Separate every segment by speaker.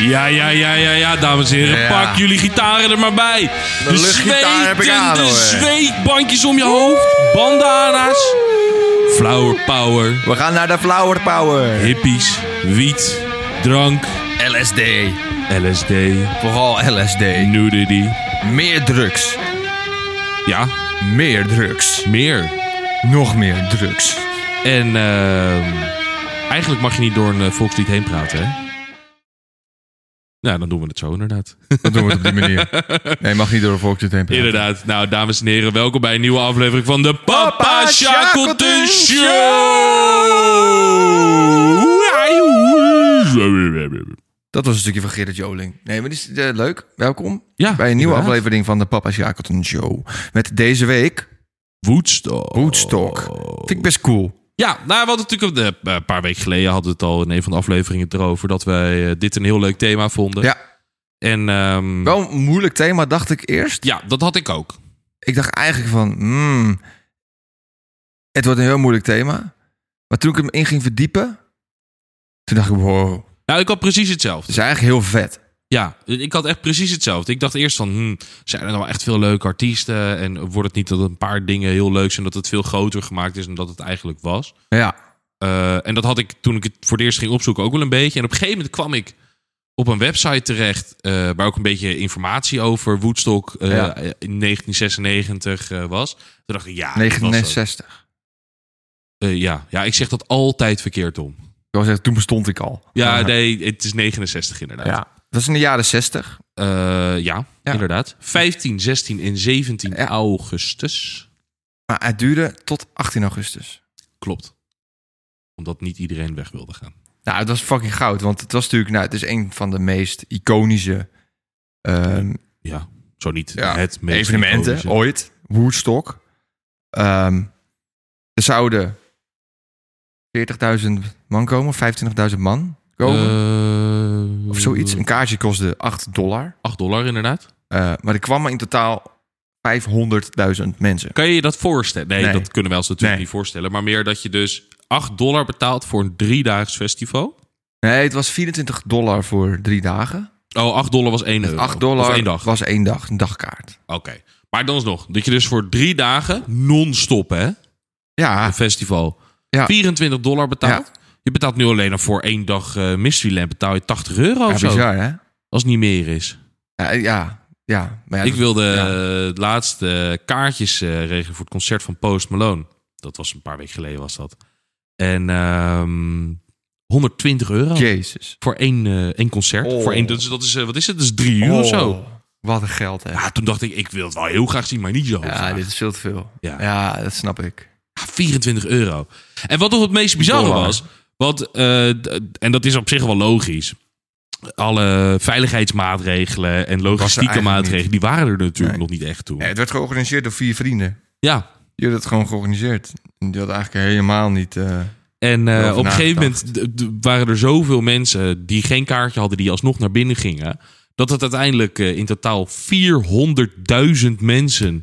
Speaker 1: Ja, ja, ja, ja, ja, dames en heren.
Speaker 2: Ja.
Speaker 1: Pak jullie gitaren er maar bij. De,
Speaker 2: luchtgitaar heb ik aan,
Speaker 1: de
Speaker 2: hoor.
Speaker 1: zweetbandjes om je hoofd. Bandana's. Flower power.
Speaker 2: We gaan naar de Flower Power.
Speaker 1: Hippies. Wiet. Drank.
Speaker 2: LSD.
Speaker 1: LSD.
Speaker 2: Vooral LSD.
Speaker 1: Nudity.
Speaker 2: Meer drugs.
Speaker 1: Ja,
Speaker 2: Meer drugs.
Speaker 1: meer.
Speaker 2: Nog meer drugs.
Speaker 1: En ehm, eigenlijk mag je niet door een eh, volkslied heen praten, hè? Nou, dan doen we het zo inderdaad.
Speaker 2: Dat doen we het op die manier. Nee, je mag niet door de volkslied heen praten.
Speaker 1: Inderdaad. Nou, dames en heren, welkom bij een nieuwe aflevering van de Papa
Speaker 2: Papa
Speaker 1: Shackleton
Speaker 2: Shackleton
Speaker 1: Show!
Speaker 2: Dat was een stukje van Gerrit Joling. Nee, maar die is eh, leuk. Welkom
Speaker 1: Ja,
Speaker 2: bij een nieuwe
Speaker 1: inderdaad.
Speaker 2: aflevering van de Papa Shackleton Show. Met deze week
Speaker 1: Woodstock.
Speaker 2: Woodstock. Vind ik best cool.
Speaker 1: Ja, nou, we hadden natuurlijk eh, een paar weken geleden hadden we het al in een van de afleveringen erover dat wij eh, dit een heel leuk thema vonden.
Speaker 2: Ja,
Speaker 1: En ehm,
Speaker 2: wel een moeilijk thema dacht ik eerst.
Speaker 1: ja, dat had ik ook.
Speaker 2: Ik dacht eigenlijk van, hmm, het wordt een heel moeilijk thema. Maar toen ik hem in ging verdiepen, toen dacht ik, wow,
Speaker 1: Nou, ik had precies hetzelfde.
Speaker 2: het is eigenlijk heel vet.
Speaker 1: Ja, ik had echt precies hetzelfde. Ik dacht eerst van, hm, zijn er nou echt veel leuke artiesten? En wordt het niet dat een paar dingen heel leuk zijn, dat het veel groter gemaakt is dan dat het eigenlijk was?
Speaker 2: Ja,
Speaker 1: Eh, en dat had ik toen ik het voor het eerst ging opzoeken ook wel een beetje. En op een gegeven moment kwam ik op een website terecht, eh, waar ook een beetje informatie over Woodstock eh,
Speaker 2: Ja.
Speaker 1: in 1996 eh, was. Toen dacht ik, ja, dat was dat.
Speaker 2: 1960.
Speaker 1: Eh, ja. ja, ik zeg dat altijd verkeerd om.
Speaker 2: Ik wil zeggen, toen bestond ik al.
Speaker 1: Ja, nee, het is 69 inderdaad.
Speaker 2: ja. Dat is in de jaren 60.
Speaker 1: Eh, ja,
Speaker 2: Ja.
Speaker 1: inderdaad. 15, 16 en 17
Speaker 2: Ja.
Speaker 1: augustus.
Speaker 2: Maar het duurde tot 18 augustus.
Speaker 1: Klopt. Omdat niet iedereen weg wilde gaan.
Speaker 2: Nou, het was fucking goud. Want het was natuurlijk, nou, het is een van de meest iconische ehm,
Speaker 1: Ja, zo niet
Speaker 2: Ja,
Speaker 1: het meest
Speaker 2: evenementen
Speaker 1: iconische.
Speaker 2: ooit. Woodstock. Ehm, er zouden 40.000 man komen, 25.000 man komen.
Speaker 1: Eh,
Speaker 2: of zoiets. Een kaartje kostte 8 dollar.
Speaker 1: 8 dollar inderdaad.
Speaker 2: Eh, maar er kwamen in totaal 500.000 mensen.
Speaker 1: Kan je je dat voorstellen? Nee,
Speaker 2: Nee.
Speaker 1: dat kunnen wij ons natuurlijk
Speaker 2: Nee.
Speaker 1: niet voorstellen. Maar meer dat je dus 8 dollar betaalt voor een driedaags festival.
Speaker 2: Nee, het was 24 dollar voor drie dagen.
Speaker 1: Oh, 8 dollar was één euro.
Speaker 2: 8 dollar
Speaker 1: Of één dag.
Speaker 2: was één dag, een dagkaart.
Speaker 1: Oké. Maar dan is nog. Dat je dus voor drie dagen non-stop hè.
Speaker 2: Ja,
Speaker 1: een festival.
Speaker 2: Ah. Ja.
Speaker 1: 24 dollar betaalt. Je betaalt nu alleen al voor één dag eh Mysteryland betaal je 80 euro
Speaker 2: ja
Speaker 1: of zo.
Speaker 2: bizar hè?
Speaker 1: Als het niet meer is.
Speaker 2: Ja, ja, ja. Maar ja,
Speaker 1: ik
Speaker 2: dat-
Speaker 1: wilde
Speaker 2: ja.
Speaker 1: eh, het laatste kaartjes eh, regelen voor het concert van Post Malone. Dat was een paar weken geleden was dat. En ehm 120 euro
Speaker 2: Jezus.
Speaker 1: voor één, eh, één concert.
Speaker 2: Oh.
Speaker 1: Voor één, dat is, dat is, eh, wat is het? Dat is drie uur of zo.
Speaker 2: Wat een geld hè?
Speaker 1: Ja, toen dacht ik, ik wil het wel heel graag zien, maar niet zo.
Speaker 2: Ja,
Speaker 1: graag.
Speaker 2: dit is veel te veel.
Speaker 1: Ja.
Speaker 2: Ja, dat snap ik.
Speaker 1: Ja, 24 Ah, euro. En wat nog het meest bizarre
Speaker 2: Dollar.
Speaker 1: was, want, eh, d- en dat is op zich wel logisch. Alle veiligheidsmaatregelen en logistieke
Speaker 2: eigenlijk
Speaker 1: maatregelen, die waren er natuurlijk nog
Speaker 2: Nee.
Speaker 1: niet echt toen.
Speaker 2: het werd georganiseerd door vier vrienden.
Speaker 1: Ja,
Speaker 2: Die hadden het gewoon georganiseerd. Die hadden eigenlijk helemaal niet... eh,
Speaker 1: en eh,
Speaker 2: Erover
Speaker 1: op een gegeven
Speaker 2: nagedacht.
Speaker 1: moment d- d- waren er zoveel mensen die geen kaartje hadden, die alsnog naar binnen gingen. Dat het uiteindelijk eh, in totaal 400.000 mensen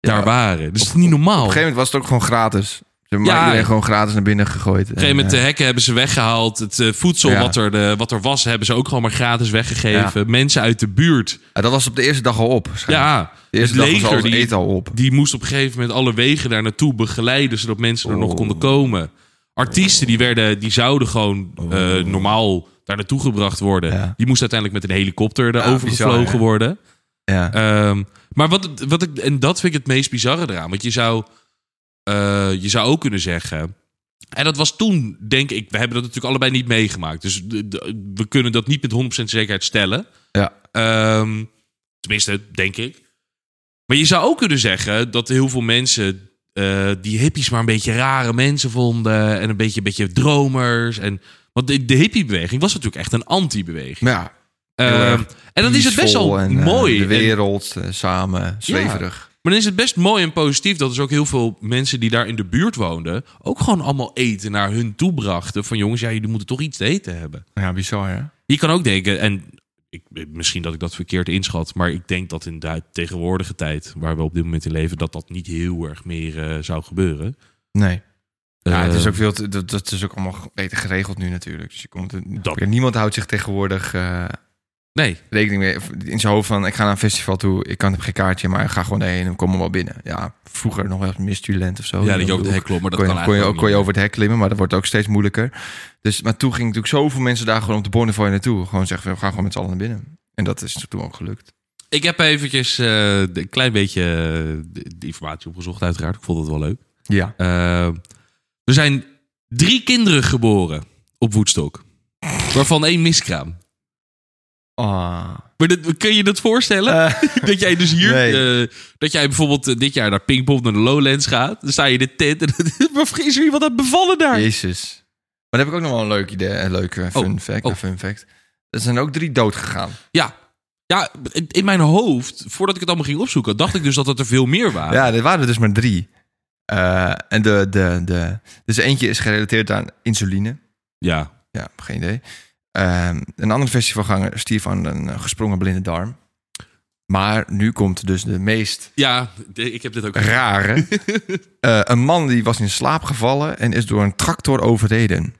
Speaker 1: daar waren. Dus dat is niet normaal.
Speaker 2: Op een gegeven moment was het ook gewoon gratis. Ze hebben
Speaker 1: Ja.
Speaker 2: maar iedereen gewoon gratis naar binnen gegooid.
Speaker 1: Op een gegeven moment de hekken hebben ze weggehaald. Het eh, voedsel
Speaker 2: Ja.
Speaker 1: wat, er, eh, wat er was, hebben ze ook gewoon maar gratis weggegeven. Mensen uit de buurt.
Speaker 2: eh, dat was op de eerste dag al op. waarschijnlijk.
Speaker 1: Ja,
Speaker 2: de eerste
Speaker 1: het
Speaker 2: dag was al
Speaker 1: leger
Speaker 2: het
Speaker 1: die,
Speaker 2: eten al op.
Speaker 1: die moest op een gegeven moment alle wegen daar naartoe begeleiden... zodat mensen er
Speaker 2: Oh.
Speaker 1: nog konden komen. Artiesten die, werden, die zouden gewoon eh, normaal daar naartoe gebracht worden.
Speaker 2: Oh. Ja.
Speaker 1: Die moesten uiteindelijk met een helikopter daar
Speaker 2: Ja,
Speaker 1: overgevlogen
Speaker 2: bizar, hè?
Speaker 1: worden.
Speaker 2: Ja.
Speaker 1: Ehm, maar wat, wat ik, en dat vind ik het meest bizarre eraan. Want je zou, eh, je zou ook kunnen zeggen. En dat was toen, denk ik, we hebben dat natuurlijk allebei niet meegemaakt. Dus de- de- we kunnen dat niet met 100% zekerheid stellen.
Speaker 2: ja.
Speaker 1: Ehm, tenminste, denk ik. Maar je zou ook kunnen zeggen dat heel veel mensen eh, die hippies maar een beetje rare mensen vonden. En een beetje, een beetje dromers. En, want de, de hippiebeweging was natuurlijk echt een anti-beweging.
Speaker 2: Maar ja, heel
Speaker 1: Ehm,
Speaker 2: erg
Speaker 1: en dan is het best wel
Speaker 2: peaceful en, eh,
Speaker 1: mooi.
Speaker 2: De
Speaker 1: en-
Speaker 2: wereld eh, samen, zweverig.
Speaker 1: maar dan is het best mooi en positief dat dus ook heel veel mensen die daar in de buurt woonden. ook gewoon allemaal eten naar hun toe brachten. Van jongens, ja, jullie moeten toch iets te eten hebben.
Speaker 2: Ja, bizar hè?
Speaker 1: Je kan ook denken, en ik, misschien dat ik dat verkeerd inschat. maar ik denk dat in de tegenwoordige tijd. waar we op dit moment in leven. dat dat niet heel erg meer eh, zou gebeuren.
Speaker 2: Nee. Ja, het
Speaker 1: Eh,
Speaker 2: is ook veel te- dat, dat is ook allemaal beter geregeld nu natuurlijk. Dus je komt er-
Speaker 1: Dat-
Speaker 2: ja, niemand houdt zich tegenwoordig eh,
Speaker 1: Nee,
Speaker 2: rekening mee. In zijn hoofd van, ik ga naar een festival toe, ik kan heb geen kaartje, maar ik ga gewoon daarheen en kom er wel binnen. Ja, vroeger nog wel eens Miss Student of zo.
Speaker 1: ja, dat je ook
Speaker 2: Ook-
Speaker 1: de hek klopt, maar dat
Speaker 2: Oh, kon je,
Speaker 1: kan
Speaker 2: kon je,
Speaker 1: eigenlijk
Speaker 2: ook,
Speaker 1: ook
Speaker 2: kon je
Speaker 1: niet.
Speaker 2: over het hek klimmen, maar dat wordt ook steeds moeilijker. Dus, maar toen gingen natuurlijk zoveel mensen daar gewoon op de Bonnefoy naartoe. Gewoon zeggen, van, we gaan gewoon met z'n allen naar binnen. En dat is toen ook gelukt.
Speaker 1: Ik heb eventjes eh, de- een klein beetje eh, de, de informatie opgezocht, uiteraard. Ik vond het wel leuk.
Speaker 2: Ja.
Speaker 1: Eh, er zijn drie kinderen geboren op Woodstock. Waarvan één miskraam.
Speaker 2: Ah.
Speaker 1: Maar dat, kun je dat voorstellen? dat jij dus hier...
Speaker 2: Eh. nee.
Speaker 1: eh, dat jij bijvoorbeeld eh, dit jaar naar Pinkpop naar de Lowlands gaat. Dan sta je in de tent en maar is er iemand aan het bevallen daar?
Speaker 2: Jezus. Maar dan heb ik ook nog wel een leuk idee, een leuke fun
Speaker 1: Oh,
Speaker 2: fact.
Speaker 1: oh.
Speaker 2: een fun fact. Er zijn ook drie dood gegaan.
Speaker 1: Ja. Ja, in- in mijn hoofd, voordat ik het allemaal ging opzoeken, dacht ik dus dat het er veel meer waren.
Speaker 2: Ja, er waren er dus maar drie. Eh, en de, de, de, dus eentje is gerelateerd aan insuline.
Speaker 1: Ja.
Speaker 2: Ja, geen idee. Ehm, een andere festivalganger stierf aan een eh, gesprongen blinde darm. Maar nu komt dus de meest
Speaker 1: Ja, de- ik heb dit ook.
Speaker 2: rare. Eh, een man die was in slaap gevallen en is door een tractor overreden.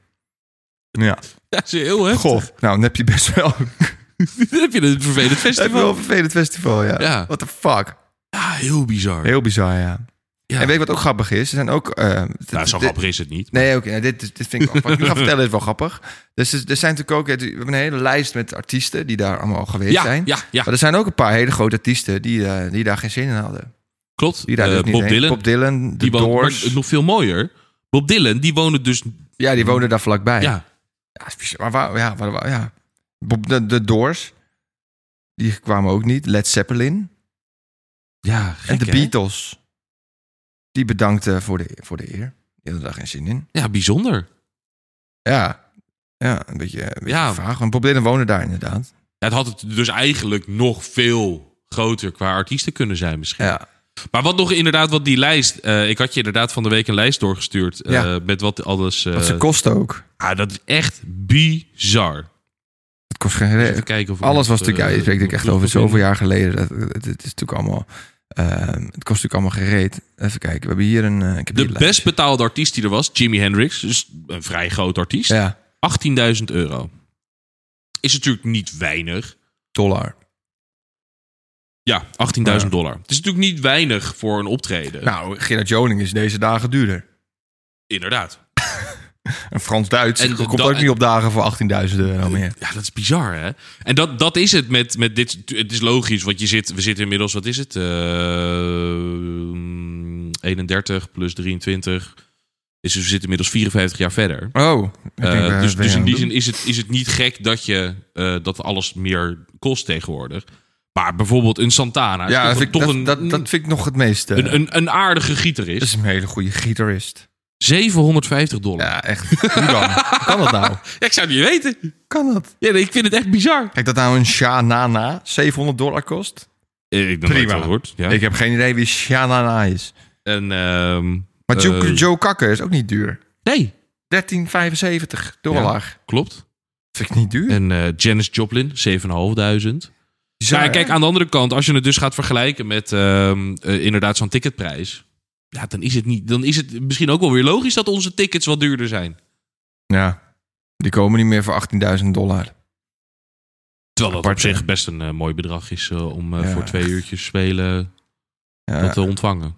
Speaker 2: Ja,
Speaker 1: Ja, dat is heel hè.
Speaker 2: goh. Nou, dan heb je best wel,
Speaker 1: Dan heb je een vervelend
Speaker 2: heb je wel
Speaker 1: festival.
Speaker 2: een vervelend festival, ja.
Speaker 1: Ja.
Speaker 2: What the fuck?
Speaker 1: Ja, heel bizar.
Speaker 2: Heel bizar, ja.
Speaker 1: Ja.
Speaker 2: En weet je wat ook grappig is? Er zijn ook... eh, dit-
Speaker 1: nou, zo
Speaker 2: dit-
Speaker 1: grappig is het niet.
Speaker 2: Nee, oké, nou, dit, is- dit vind ik wel grappig. Ik ga vertellen, dit is wel grappig. Dus er er zijn natuurlijk ook... We hebben een hele lijst met artiesten die daar allemaal al geweest
Speaker 1: Ja,
Speaker 2: zijn.
Speaker 1: ja, ja,
Speaker 2: Maar er zijn ook een paar hele grote artiesten die, eh, die daar geen zin in hadden.
Speaker 1: klopt.
Speaker 2: Die daar
Speaker 1: Eh,
Speaker 2: dus niet
Speaker 1: Bob
Speaker 2: heen-
Speaker 1: Dylan.
Speaker 2: Bob Dylan,
Speaker 1: die
Speaker 2: The
Speaker 1: woont-
Speaker 2: Doors.
Speaker 1: maar nog veel mooier. Bob Dylan, die woonde dus...
Speaker 2: Ja, die wonen daar vlakbij.
Speaker 1: Ja,
Speaker 2: Ja, is bizar. maar waar, ja, waar, waar- ja. Bob- De, de Doors, die kwamen ook niet. Led Zeppelin
Speaker 1: ja
Speaker 2: en
Speaker 1: gek,
Speaker 2: de
Speaker 1: hè?
Speaker 2: Beatles. Die bedankten voor de, voor de eer. Die hadden daar geen zin in.
Speaker 1: Ja, bijzonder.
Speaker 2: Ja, ja een beetje, een beetje
Speaker 1: Ja.
Speaker 2: vaag. Want Bob Dylan woonde daar inderdaad.
Speaker 1: Ja, het had het dus eigenlijk nog veel groter qua artiesten kunnen zijn misschien.
Speaker 2: Ja,
Speaker 1: Maar wat nog inderdaad, wat die lijst... eh, ik had je inderdaad van de week een lijst doorgestuurd. eh,
Speaker 2: Ja.
Speaker 1: met wat alles... eh,
Speaker 2: dat ze kost ook.
Speaker 1: ah, dat is echt bizar.
Speaker 2: Het kost geen re-
Speaker 1: Even kijken of...
Speaker 2: Alles was
Speaker 1: eh,
Speaker 2: natuurlijk, ja, je spreekt natuurlijk echt
Speaker 1: nog
Speaker 2: over
Speaker 1: terug
Speaker 2: zoveel jaar geleden. Dat, het, het is natuurlijk allemaal, ehm, het kost natuurlijk allemaal gereed. Even kijken, we hebben hier een... eh, ik heb hier
Speaker 1: De
Speaker 2: een lijst.
Speaker 1: best betaalde artiest die er was, Jimi Hendrix. Dus een vrij groot artiest.
Speaker 2: Ja,
Speaker 1: 18.000 euro. Is natuurlijk niet weinig.
Speaker 2: dollar.
Speaker 1: Ja, 18.000
Speaker 2: Ja.
Speaker 1: dollar. Het is natuurlijk niet weinig voor een optreden.
Speaker 2: Nou, Gerard Joning is deze dagen duurder.
Speaker 1: Inderdaad.
Speaker 2: Een Frans-Duits
Speaker 1: En Eh,
Speaker 2: komt
Speaker 1: dat-
Speaker 2: ook niet op dagen voor 18.000 euro meer.
Speaker 1: Ja, dat is bizar, hè? En dat, dat is het met, met dit. Het is logisch, want je zit, we zitten inmiddels, wat is het? Eh, 31 plus 23. Dus we zitten inmiddels 54 jaar verder.
Speaker 2: Oh, ik denk,
Speaker 1: Eh,
Speaker 2: eh,
Speaker 1: dus
Speaker 2: ben
Speaker 1: dus
Speaker 2: je
Speaker 1: in
Speaker 2: aan
Speaker 1: die
Speaker 2: het
Speaker 1: zin is het, is het niet gek dat, je, eh, dat alles meer kost tegenwoordig. Maar bijvoorbeeld een Santana.
Speaker 2: doen?
Speaker 1: is
Speaker 2: Ja, dat
Speaker 1: toch,
Speaker 2: vind, ik,
Speaker 1: toch
Speaker 2: dat,
Speaker 1: een,
Speaker 2: dat, dat vind ik nog het meeste.
Speaker 1: een, een, een aardige
Speaker 2: dat
Speaker 1: gitarist.
Speaker 2: is een hele goede gitarist.
Speaker 1: 750 dollar. Ja.
Speaker 2: Ja, echt. Hoe dan? Hoe kan dat nou?
Speaker 1: ik zou het niet weten.
Speaker 2: Kan dat?
Speaker 1: Ja, nee, ik vind het echt bizar.
Speaker 2: Kijk, dat nou een Sha-na-na 700 dollar kost?
Speaker 1: Ik
Speaker 2: nooit Prima. van
Speaker 1: Hoort, ja.
Speaker 2: Ik heb geen idee wie Sha-na-na is.
Speaker 1: En, ehm,
Speaker 2: Maar Joe,
Speaker 1: eh,
Speaker 2: Joe Kakker is ook niet duur.
Speaker 1: nee,
Speaker 2: 13,75 dollar.
Speaker 1: klopt.
Speaker 2: Vind ik niet duur.
Speaker 1: En eh, Janis Joplin, 7.500. Ja, kijk, aan de andere kant, als je het dus gaat vergelijken met ehm, eh, inderdaad zo'n ticketprijs. Ja, dan is, het niet, dan is het misschien ook wel weer logisch dat onze tickets wat duurder zijn.
Speaker 2: Ja, die komen niet meer voor 18.000 dollar.
Speaker 1: Terwijl dat op
Speaker 2: Apart, hè?
Speaker 1: zich best een eh, mooi bedrag is eh, om eh,
Speaker 2: Ja,
Speaker 1: voor twee
Speaker 2: echt.
Speaker 1: uurtjes spelen
Speaker 2: Ja.
Speaker 1: dat te ontvangen.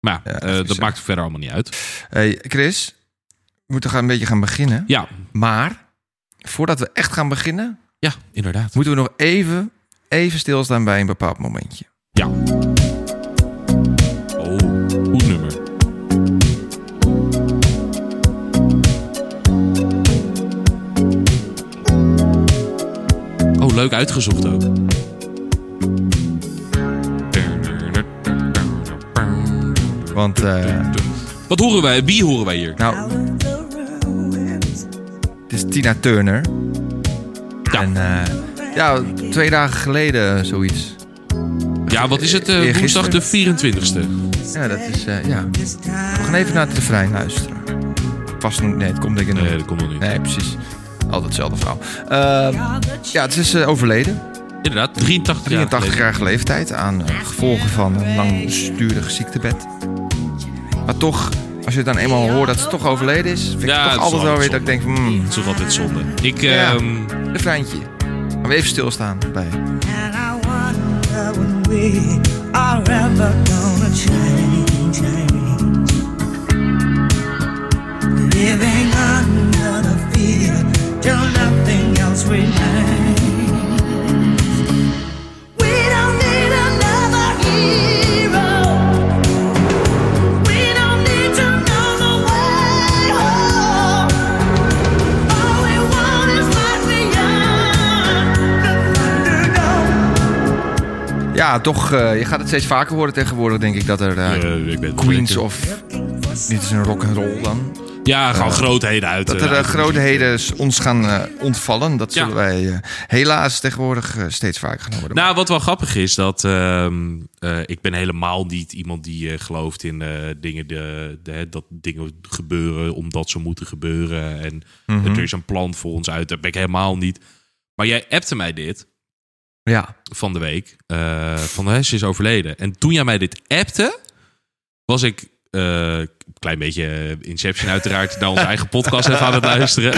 Speaker 1: Maar ja,
Speaker 2: Ja,
Speaker 1: eh,
Speaker 2: echt
Speaker 1: dat
Speaker 2: bizar.
Speaker 1: maakt verder allemaal niet uit.
Speaker 2: Hey, Chris, we moeten gaan een beetje gaan beginnen.
Speaker 1: Ja,
Speaker 2: Maar voordat we echt gaan beginnen,
Speaker 1: ja inderdaad.
Speaker 2: moeten we nog even, even stilstaan bij een bepaald momentje.
Speaker 1: Ja. Oh, goed nummer. Oh, leuk uitgezocht ook.
Speaker 2: Want eh,
Speaker 1: Wat horen wij? Wie horen wij hier?
Speaker 2: nou, het is Tina Turner.
Speaker 1: Ja.
Speaker 2: En eh, ja, twee dagen geleden zoiets.
Speaker 1: Ja, wat is het? eh,
Speaker 2: Eergisteren.
Speaker 1: woensdag de 24e.
Speaker 2: Ja, dat is, eh, ja. We gaan even naar het refrein luisteren. Vast nog, nee, het komt denk ik nog
Speaker 1: Nee,
Speaker 2: niet.
Speaker 1: dat komt nog niet.
Speaker 2: Nee, precies. Altijd hetzelfde verhaal. Ehm, ja, het is eh, overleden.
Speaker 1: Inderdaad, 83 jaar.
Speaker 2: 83-jarige leeftijd aan eh, gevolgen van een langsturig ziektebed. Maar toch als je het dan eenmaal hoort dat ze toch overleden is, vind ik
Speaker 1: Ja,
Speaker 2: het
Speaker 1: het
Speaker 2: toch
Speaker 1: is
Speaker 2: altijd wel
Speaker 1: altijd
Speaker 2: weer dat ik denk van, hmm,
Speaker 1: Dat is toch altijd zonde. Ik,
Speaker 2: Ja.
Speaker 1: ehm,
Speaker 2: een kleintje. Gaan we even stilstaan bij.
Speaker 3: And I wonder when we are ever gonna change. Living under the fear till nothing else remains. We don't need another hero. We don't need to know the way home. All we want is life beyond the thunderdome.
Speaker 2: Ja, toch, eh, je gaat het steeds vaker horen tegenwoordig, denk ik, dat er eh,
Speaker 1: eh, ik ben
Speaker 2: queens of... Dit is een rock'n'roll dan.
Speaker 1: Ja, gewoon grootheden uit.
Speaker 2: Dat
Speaker 1: eh,
Speaker 2: er eh,
Speaker 1: uit de
Speaker 2: grootheden s- ons gaan eh, ontvallen, dat
Speaker 1: Ja.
Speaker 2: zullen wij eh, helaas tegenwoordig eh, steeds vaker gaan horen.
Speaker 1: Nou, wat wel grappig is, dat ehm, eh, ik ben helemaal niet iemand die eh, gelooft in eh, dingen, de, de- hè, dat dingen gebeuren omdat ze moeten gebeuren. En er is een plan voor ons uit. Dat ben ik helemaal niet. Maar jij appte mij dit
Speaker 2: ja.
Speaker 1: van de week. eh, van hè, ze is overleden. En toen jij mij dit appte, was ik eh, een klein beetje eh, Inception uiteraard naar onze eigen podcast even aan het luisteren.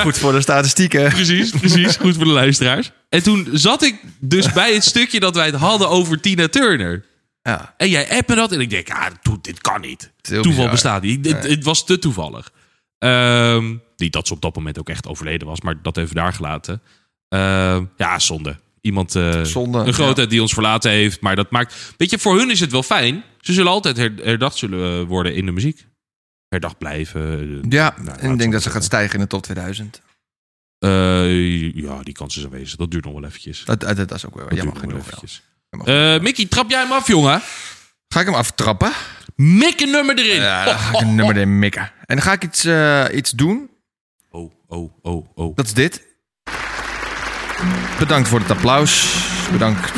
Speaker 2: Goed voor de statistieken.
Speaker 1: Precies, precies. Goed voor de luisteraars. En toen zat ik dus bij het stukje dat wij het hadden over Tina Turner.
Speaker 2: Ja.
Speaker 1: En jij appt me dat en ik denk, ah, toe- dit kan niet.
Speaker 2: is heel
Speaker 1: Toeval
Speaker 2: bizar.
Speaker 1: bestaat niet. Het, het was te toevallig. Ehm, niet dat ze op dat moment ook echt overleden was, maar dat even daar gelaten. Ehm, ja, zonde. Iemand, eh,
Speaker 2: Zonde,
Speaker 1: een grootheid die ons verlaten heeft. Maar dat maakt, weet je, voor hun is het wel fijn. Ze zullen altijd her- herdacht zullen eh, worden in de muziek. Herdacht blijven. eh,
Speaker 2: Ja,
Speaker 1: nou,
Speaker 2: en ik
Speaker 1: laat
Speaker 2: denk
Speaker 1: het
Speaker 2: dat ze
Speaker 1: zo zeggen.
Speaker 2: gaat stijgen in de top 2000.
Speaker 1: Eh, ja, die kans is aanwezig. Dat duurt nog wel eventjes.
Speaker 2: Dat, dat, dat is ook wel
Speaker 1: Dat
Speaker 2: jammer
Speaker 1: duurt nog wel
Speaker 2: genoeg. wel.
Speaker 1: eventjes.
Speaker 2: Jammer genoeg.
Speaker 1: Eh, Mickey, trap jij hem af, jongen.
Speaker 2: Ga ik hem aftrappen?
Speaker 1: Mik een nummer erin.
Speaker 2: Ja, dan ga ik een nummer erin mikken. En dan ga ik iets, eh, iets doen.
Speaker 1: Oh, oh, oh, oh.
Speaker 2: Dat is dit. Bedankt voor het applaus. Bedankt.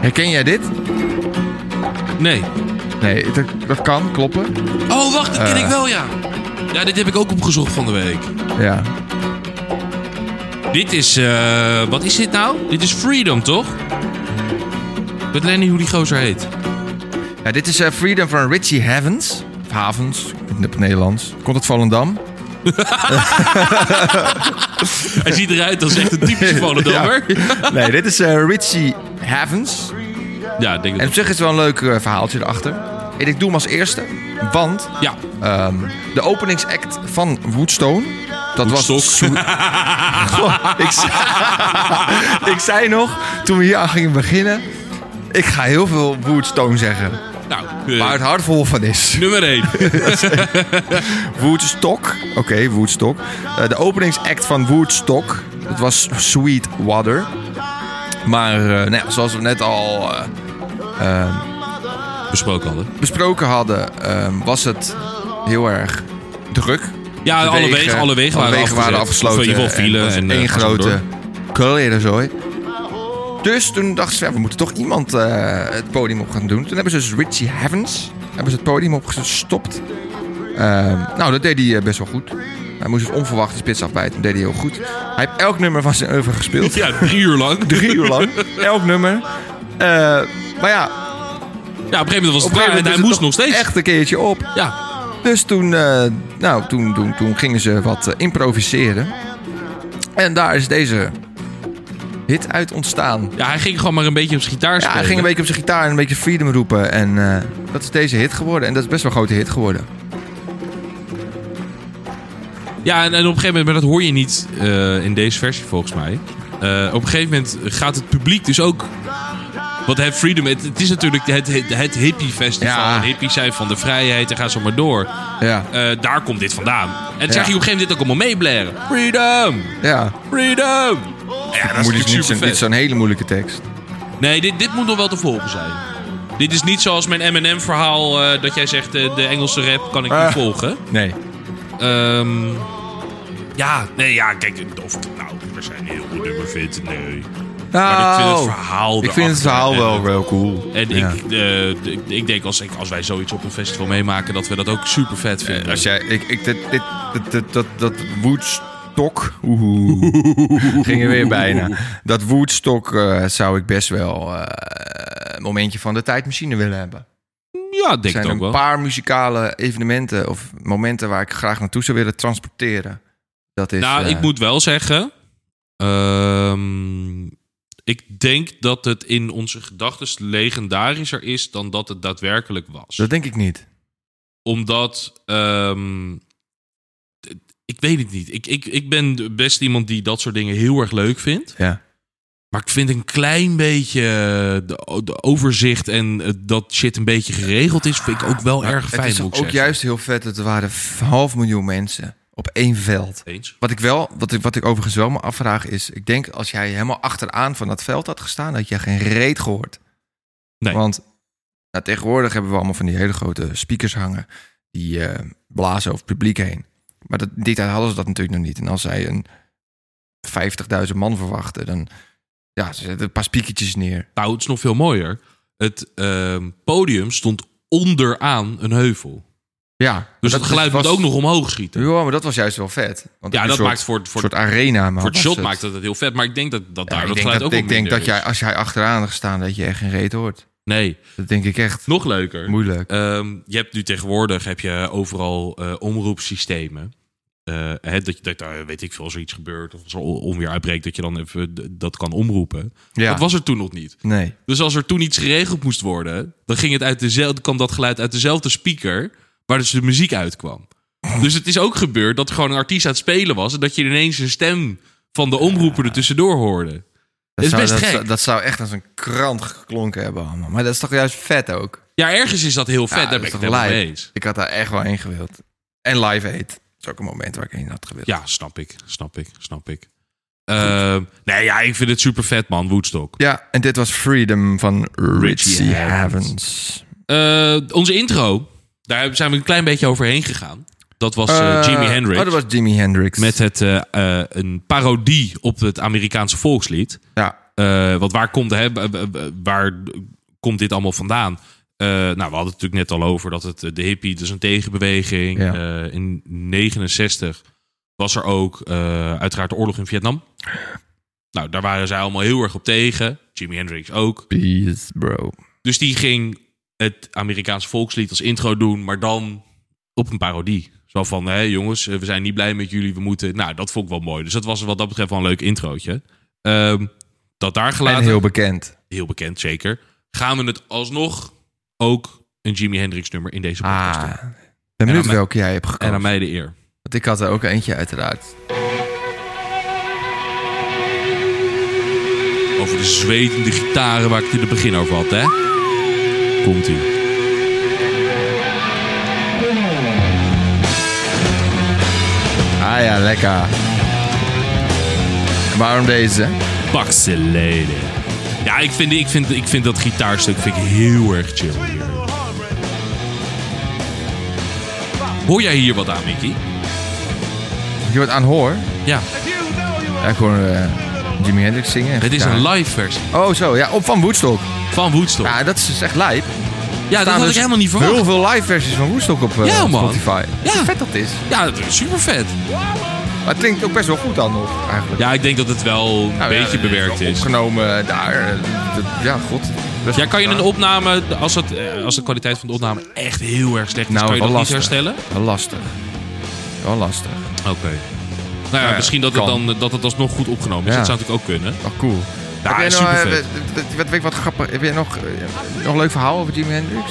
Speaker 2: Herken jij dit?
Speaker 1: Nee.
Speaker 2: Nee, dat, dat kan kloppen.
Speaker 1: Oh, wacht, dat
Speaker 2: Eh.
Speaker 1: ken ik wel, ja. Ja, dit heb ik ook opgezocht van de week.
Speaker 2: Ja.
Speaker 1: Dit is, eh, wat is dit nou? Dit is Freedom, toch? Ik weet alleen niet hoe die gozer heet.
Speaker 2: Ja, dit is eh, Freedom van Richie Havens. Of Havens, ik weet niet op het Nederlands. Komt het Volendam?
Speaker 1: Hij ziet eruit als echt een typische Volendammer. Ja,
Speaker 2: Nee, dit is eh, Richie Havens.
Speaker 1: ik denk
Speaker 2: En
Speaker 1: dat
Speaker 2: op zich is het wel een leuk eh, verhaaltje erachter. En ik doe hem als eerste, want
Speaker 1: Ja,
Speaker 2: ehm, de openingsact van Woodstone... Dat
Speaker 1: Woodstock.
Speaker 2: was... Swe- Goh, ik, zei, ik zei nog, toen we hier aan gingen beginnen... Ik ga heel veel Woodstone zeggen,
Speaker 1: nou, eh,
Speaker 2: waar het hart vol van is.
Speaker 1: nummer 1.
Speaker 2: Woodstock. Oké, Woodstock. Eh, de openingsact van Woodstock. Dat was Sweet Water. Maar eh, nou ja, zoals we net al eh,
Speaker 1: Besproken hadden.
Speaker 2: besproken hadden, eh, was het heel erg druk.
Speaker 1: Ja,
Speaker 2: De
Speaker 1: Ah, alle wegen, alle wegen waren
Speaker 2: waren
Speaker 1: afgezet.
Speaker 2: afgesloten.
Speaker 1: Of in ieder geval
Speaker 2: En
Speaker 1: vielen.
Speaker 2: was het
Speaker 1: en, eh,
Speaker 2: één
Speaker 1: ga zo
Speaker 2: grote
Speaker 1: door.
Speaker 2: klerenzooi. Dus toen dachten ze, ja, we moeten toch iemand eh, het podium op gaan doen. Toen hebben ze dus Richie Havens hebben ze het podium opgestopt. Ehm, nou, dat deed hij eh, best wel goed. Hij moest dus onverwacht de spits afbijten. Dat deed hij heel goed. Hij heeft elk nummer van zijn oeuvre gespeeld.
Speaker 1: Ja, drie uur lang.
Speaker 2: Drie uur lang. Elk nummer. Eh, maar ja,
Speaker 1: Ja, op een gegeven moment was
Speaker 2: op
Speaker 1: het
Speaker 2: een gegeven
Speaker 1: klaar
Speaker 2: moment
Speaker 1: en
Speaker 2: is
Speaker 1: hij
Speaker 2: het
Speaker 1: moest
Speaker 2: toch
Speaker 1: nog steeds.
Speaker 2: echt een keertje op.
Speaker 1: Ja,
Speaker 2: Dus toen, eh, nou, toen, toen, toen gingen ze wat eh, improviseren. En daar is deze hit uit ontstaan.
Speaker 1: ja, hij ging gewoon maar een beetje op zijn gitaar
Speaker 2: Ja,
Speaker 1: spelen.
Speaker 2: hij ging een beetje op zijn gitaar en een beetje freedom roepen. En eh, dat is deze hit geworden. En dat is best wel een grote hit geworden.
Speaker 1: Ja, en, en op een gegeven moment, maar dat hoor je niet eh, in deze versie volgens mij. Eh, op een gegeven moment gaat het publiek dus ook. Want het Freedom, het, het is natuurlijk het, het, het hippie festival.
Speaker 2: Ja.
Speaker 1: Hippies zijn van de vrijheid en ga zo maar door.
Speaker 2: Ja.
Speaker 1: Eh, daar komt dit vandaan. En dan
Speaker 2: Ja.
Speaker 1: zag je op een gegeven moment dit ook allemaal meeblaren. Freedom!
Speaker 2: Ja.
Speaker 1: Freedom! Ja, dat is
Speaker 2: Moet dus
Speaker 1: natuurlijk
Speaker 2: niet zo'n,
Speaker 1: supervet.
Speaker 2: dit is zo'n hele moeilijke tekst.
Speaker 1: Nee, dit, dit moet nog wel te volgen zijn. Dit is niet zoals mijn M&M-verhaal eh, dat jij zegt, eh, de Engelse rap kan ik niet
Speaker 2: Ah.
Speaker 1: volgen.
Speaker 2: Nee.
Speaker 1: Ehm, ja, nee, ja, kijk, of ik het nou nummers zijn heel goed nummer vindt. Nee.
Speaker 2: Nou,
Speaker 1: Maar ik vind het verhaal
Speaker 2: ik vind het
Speaker 1: erachter
Speaker 2: verhaal
Speaker 1: en
Speaker 2: wel,
Speaker 1: het-
Speaker 2: wel cool.
Speaker 1: En
Speaker 2: Ja.
Speaker 1: ik, eh, ik, ik denk als, ik, als wij zoiets op een festival meemaken, dat we dat ook super vet vinden.
Speaker 2: Eh, Als jij, ik, ik, dit, dit, dit- dit- dat, dat Woodstock, oeh, ging er weer bijna. Dat Woodstock eh, zou ik best wel eh, een momentje van de tijdmachine willen hebben.
Speaker 1: ja, ik
Speaker 2: Er
Speaker 1: denk
Speaker 2: zijn
Speaker 1: het ook
Speaker 2: een
Speaker 1: wel.
Speaker 2: paar muzikale evenementen of momenten waar ik graag naartoe zou willen transporteren. Dat is,
Speaker 1: nou,
Speaker 2: eh,
Speaker 1: ik moet wel zeggen. ehm, ik denk dat het in onze gedachten legendarischer is dan dat het daadwerkelijk was.
Speaker 2: Dat denk ik niet.
Speaker 1: Omdat. ehm, d- ik weet het niet. Ik, ik, ik ben best iemand die dat soort dingen heel erg leuk vindt.
Speaker 2: Ja.
Speaker 1: Maar ik vind een klein beetje eh, de, o- de overzicht en eh, dat shit een beetje geregeld is, vind ik ook wel erg fijn.
Speaker 2: het is
Speaker 1: moet
Speaker 2: ook
Speaker 1: ik zeggen.
Speaker 2: juist heel vet dat er waren f- half miljoen mensen op één veld.
Speaker 1: Eens.
Speaker 2: Wat ik wel, wat ik, wat ik overigens wel me afvraag is, ik denk als jij helemaal achteraan van dat veld had gestaan, had jij geen reet gehoord.
Speaker 1: Nee.
Speaker 2: Want nou, tegenwoordig hebben we allemaal van die hele grote speakers hangen, die eh, blazen over het publiek heen. Maar dat, dit jaar hadden ze dat natuurlijk nog niet. En als zij een 50.000 man verwachten, dan ja, ze zetten een paar spiekertjes neer.
Speaker 1: Nou, het is nog veel mooier. Het ehm, podium stond onderaan een heuvel.
Speaker 2: Ja,
Speaker 1: Dus het geluid
Speaker 2: was-
Speaker 1: moet ook nog omhoog schieten.
Speaker 2: Ja, maar dat was juist wel vet. Want
Speaker 1: Ja,
Speaker 2: een
Speaker 1: dat
Speaker 2: soort,
Speaker 1: maakt voor, voor,
Speaker 2: soort arena. Maar
Speaker 1: voor het
Speaker 2: was
Speaker 1: shot
Speaker 2: het.
Speaker 1: maakt dat het heel vet. Maar ik denk dat, dat
Speaker 2: Ja,
Speaker 1: daar dat
Speaker 2: ik denk
Speaker 1: geluid
Speaker 2: dat,
Speaker 1: ook
Speaker 2: ik denk dat
Speaker 1: minder
Speaker 2: jij,
Speaker 1: is.
Speaker 2: als jij achteraan had gestaan, dat je echt geen reet hoort.
Speaker 1: Nee,
Speaker 2: Dat denk ik echt.
Speaker 1: nog leuker.
Speaker 2: Moeilijk.
Speaker 1: Ehm, je hebt nu tegenwoordig heb je overal eh, omroepsystemen. Eh, hè, dat, je- dat daar, weet ik veel, als er iets gebeurt of als er on- onweer uitbreekt, dat je dan even d- dat kan omroepen.
Speaker 2: Ja.
Speaker 1: Dat was er toen nog niet.
Speaker 2: Nee.
Speaker 1: Dus als er toen iets geregeld moest worden, dan ging het uit dezelfde, kwam dat geluid uit dezelfde speaker waar dus de muziek uitkwam. Dus het is ook gebeurd dat er gewoon een artiest aan het spelen was en dat je ineens een stem van de omroeper er tussendoor hoorde.
Speaker 2: Dat
Speaker 1: is
Speaker 2: zou,
Speaker 1: best
Speaker 2: dat,
Speaker 1: gek.
Speaker 2: zou- Dat zou echt als een krant geklonken hebben allemaal. Maar dat is toch juist vet ook?
Speaker 1: Ja, ergens is dat heel vet,
Speaker 2: Ja,
Speaker 1: daar
Speaker 2: dat
Speaker 1: ben
Speaker 2: is
Speaker 1: ik het
Speaker 2: toch
Speaker 1: helemaal
Speaker 2: lijp?
Speaker 1: mee eens.
Speaker 2: Ik had daar echt wel heen gewild. En Live Aid. Dat is ook een moment waar ik heen had gewild.
Speaker 1: Ja, snap ik, snap ik, snap ik. Ehm, nee, ja, ik vind het super vet, man, Woodstock.
Speaker 2: Ja, en dit was Freedom van Richie
Speaker 1: Richie Havens.
Speaker 2: Havens.
Speaker 1: Eh, onze intro, daar zijn we een klein beetje overheen gegaan. Dat was eh,
Speaker 2: Eh,
Speaker 1: Jimi Hendrix.
Speaker 2: Oh, dat was Jimi Hendrix.
Speaker 1: Met het, eh, eh, een parodie op het Amerikaanse volkslied.
Speaker 2: Ja,
Speaker 1: Eh, want waar komt, hè, b- b- b- waar komt dit allemaal vandaan? Eh, nou, we hadden het natuurlijk net al over dat het eh, de hippie, dus een tegenbeweging.
Speaker 2: Ja.
Speaker 1: Eh, in 69 was er ook eh, uiteraard de oorlog in Vietnam. Nou, daar waren zij allemaal heel erg op tegen. Jimi Hendrix ook.
Speaker 2: peace bro.
Speaker 1: Dus die ging het Amerikaanse volkslied als intro doen, maar dan op een parodie. Zo van, hé jongens, eh, we zijn niet blij met jullie, we moeten... Nou, dat vond ik wel mooi. Dus dat was wat dat betreft wel een leuk introotje. Ehm, dat daar gelaten,
Speaker 2: En
Speaker 1: heel...
Speaker 2: heel bekend.
Speaker 1: bekend zeker. Gaan we het alsnog ook een Jimi Hendrix nummer in deze podcast
Speaker 2: Ah,
Speaker 1: doen.
Speaker 2: ik ben benieuwd
Speaker 1: mij-
Speaker 2: welke jij hebt
Speaker 1: En
Speaker 2: gekozen.
Speaker 1: aan mij de eer.
Speaker 2: Want ik had er ook eentje uiteraard.
Speaker 1: Over de zwetende gitaren waar ik het in het begin over had, hè? Komt-ie.
Speaker 2: Ah ja, lekker. Waarom deze?
Speaker 1: Pak ze leden. Ja, ik vind, ik, vind, ik vind dat gitaarstuk vind ik heel erg chill. hier. Hoor jij hier wat aan, Mickey?
Speaker 2: Je wordt aan hoor.
Speaker 1: Ja,
Speaker 2: Ja, ik hoor eh, Jimi Hendrix zingen. en
Speaker 1: het is
Speaker 2: gitaar.
Speaker 1: een live versie
Speaker 2: Oh, zo. Ja, op van Woodstock.
Speaker 1: van Woodstock.
Speaker 2: Ja, dat is dus echt lijp.
Speaker 1: Ja, dat
Speaker 2: Staan
Speaker 1: had ik
Speaker 2: dus
Speaker 1: helemaal niet
Speaker 2: Heel
Speaker 1: verwacht.
Speaker 2: veel live versies van Woodstock op eh,
Speaker 1: Ja, man.
Speaker 2: Spotify.
Speaker 1: Ja.
Speaker 2: Hoe vet dat is.
Speaker 1: Ja, dat is super vet.
Speaker 2: Maar het klinkt ook best wel goed dan nog, eigenlijk.
Speaker 1: Ja, ik denk dat het wel een
Speaker 2: Nou, ja,
Speaker 1: beetje
Speaker 2: het
Speaker 1: bewerkt
Speaker 2: wel
Speaker 1: is.
Speaker 2: Opgenomen eh, daar. eh, dat- Ja, god. Best
Speaker 1: Ja, kan je
Speaker 2: gedaan.
Speaker 1: een opname, als, het, eh, als de kwaliteit van de opname echt heel erg slecht is,
Speaker 2: Nou,
Speaker 1: kan je
Speaker 2: wel
Speaker 1: dat niet
Speaker 2: lastig.
Speaker 1: herstellen?
Speaker 2: Wel lastig. Wel lastig.
Speaker 1: Oké. Nou ja,
Speaker 2: Ja,
Speaker 1: misschien dat het,
Speaker 2: kan.
Speaker 1: dan, dat het alsnog goed opgenomen is.
Speaker 2: Ja.
Speaker 1: Dat zou natuurlijk ook kunnen.
Speaker 2: Wel cool.
Speaker 1: Ja,
Speaker 2: Heb jij nou, eh,
Speaker 1: super vet.
Speaker 2: wat- wat- wat- Weet ik wat grappig. Heb jij nog, eh, nog een leuk verhaal over Jimi Hendrix?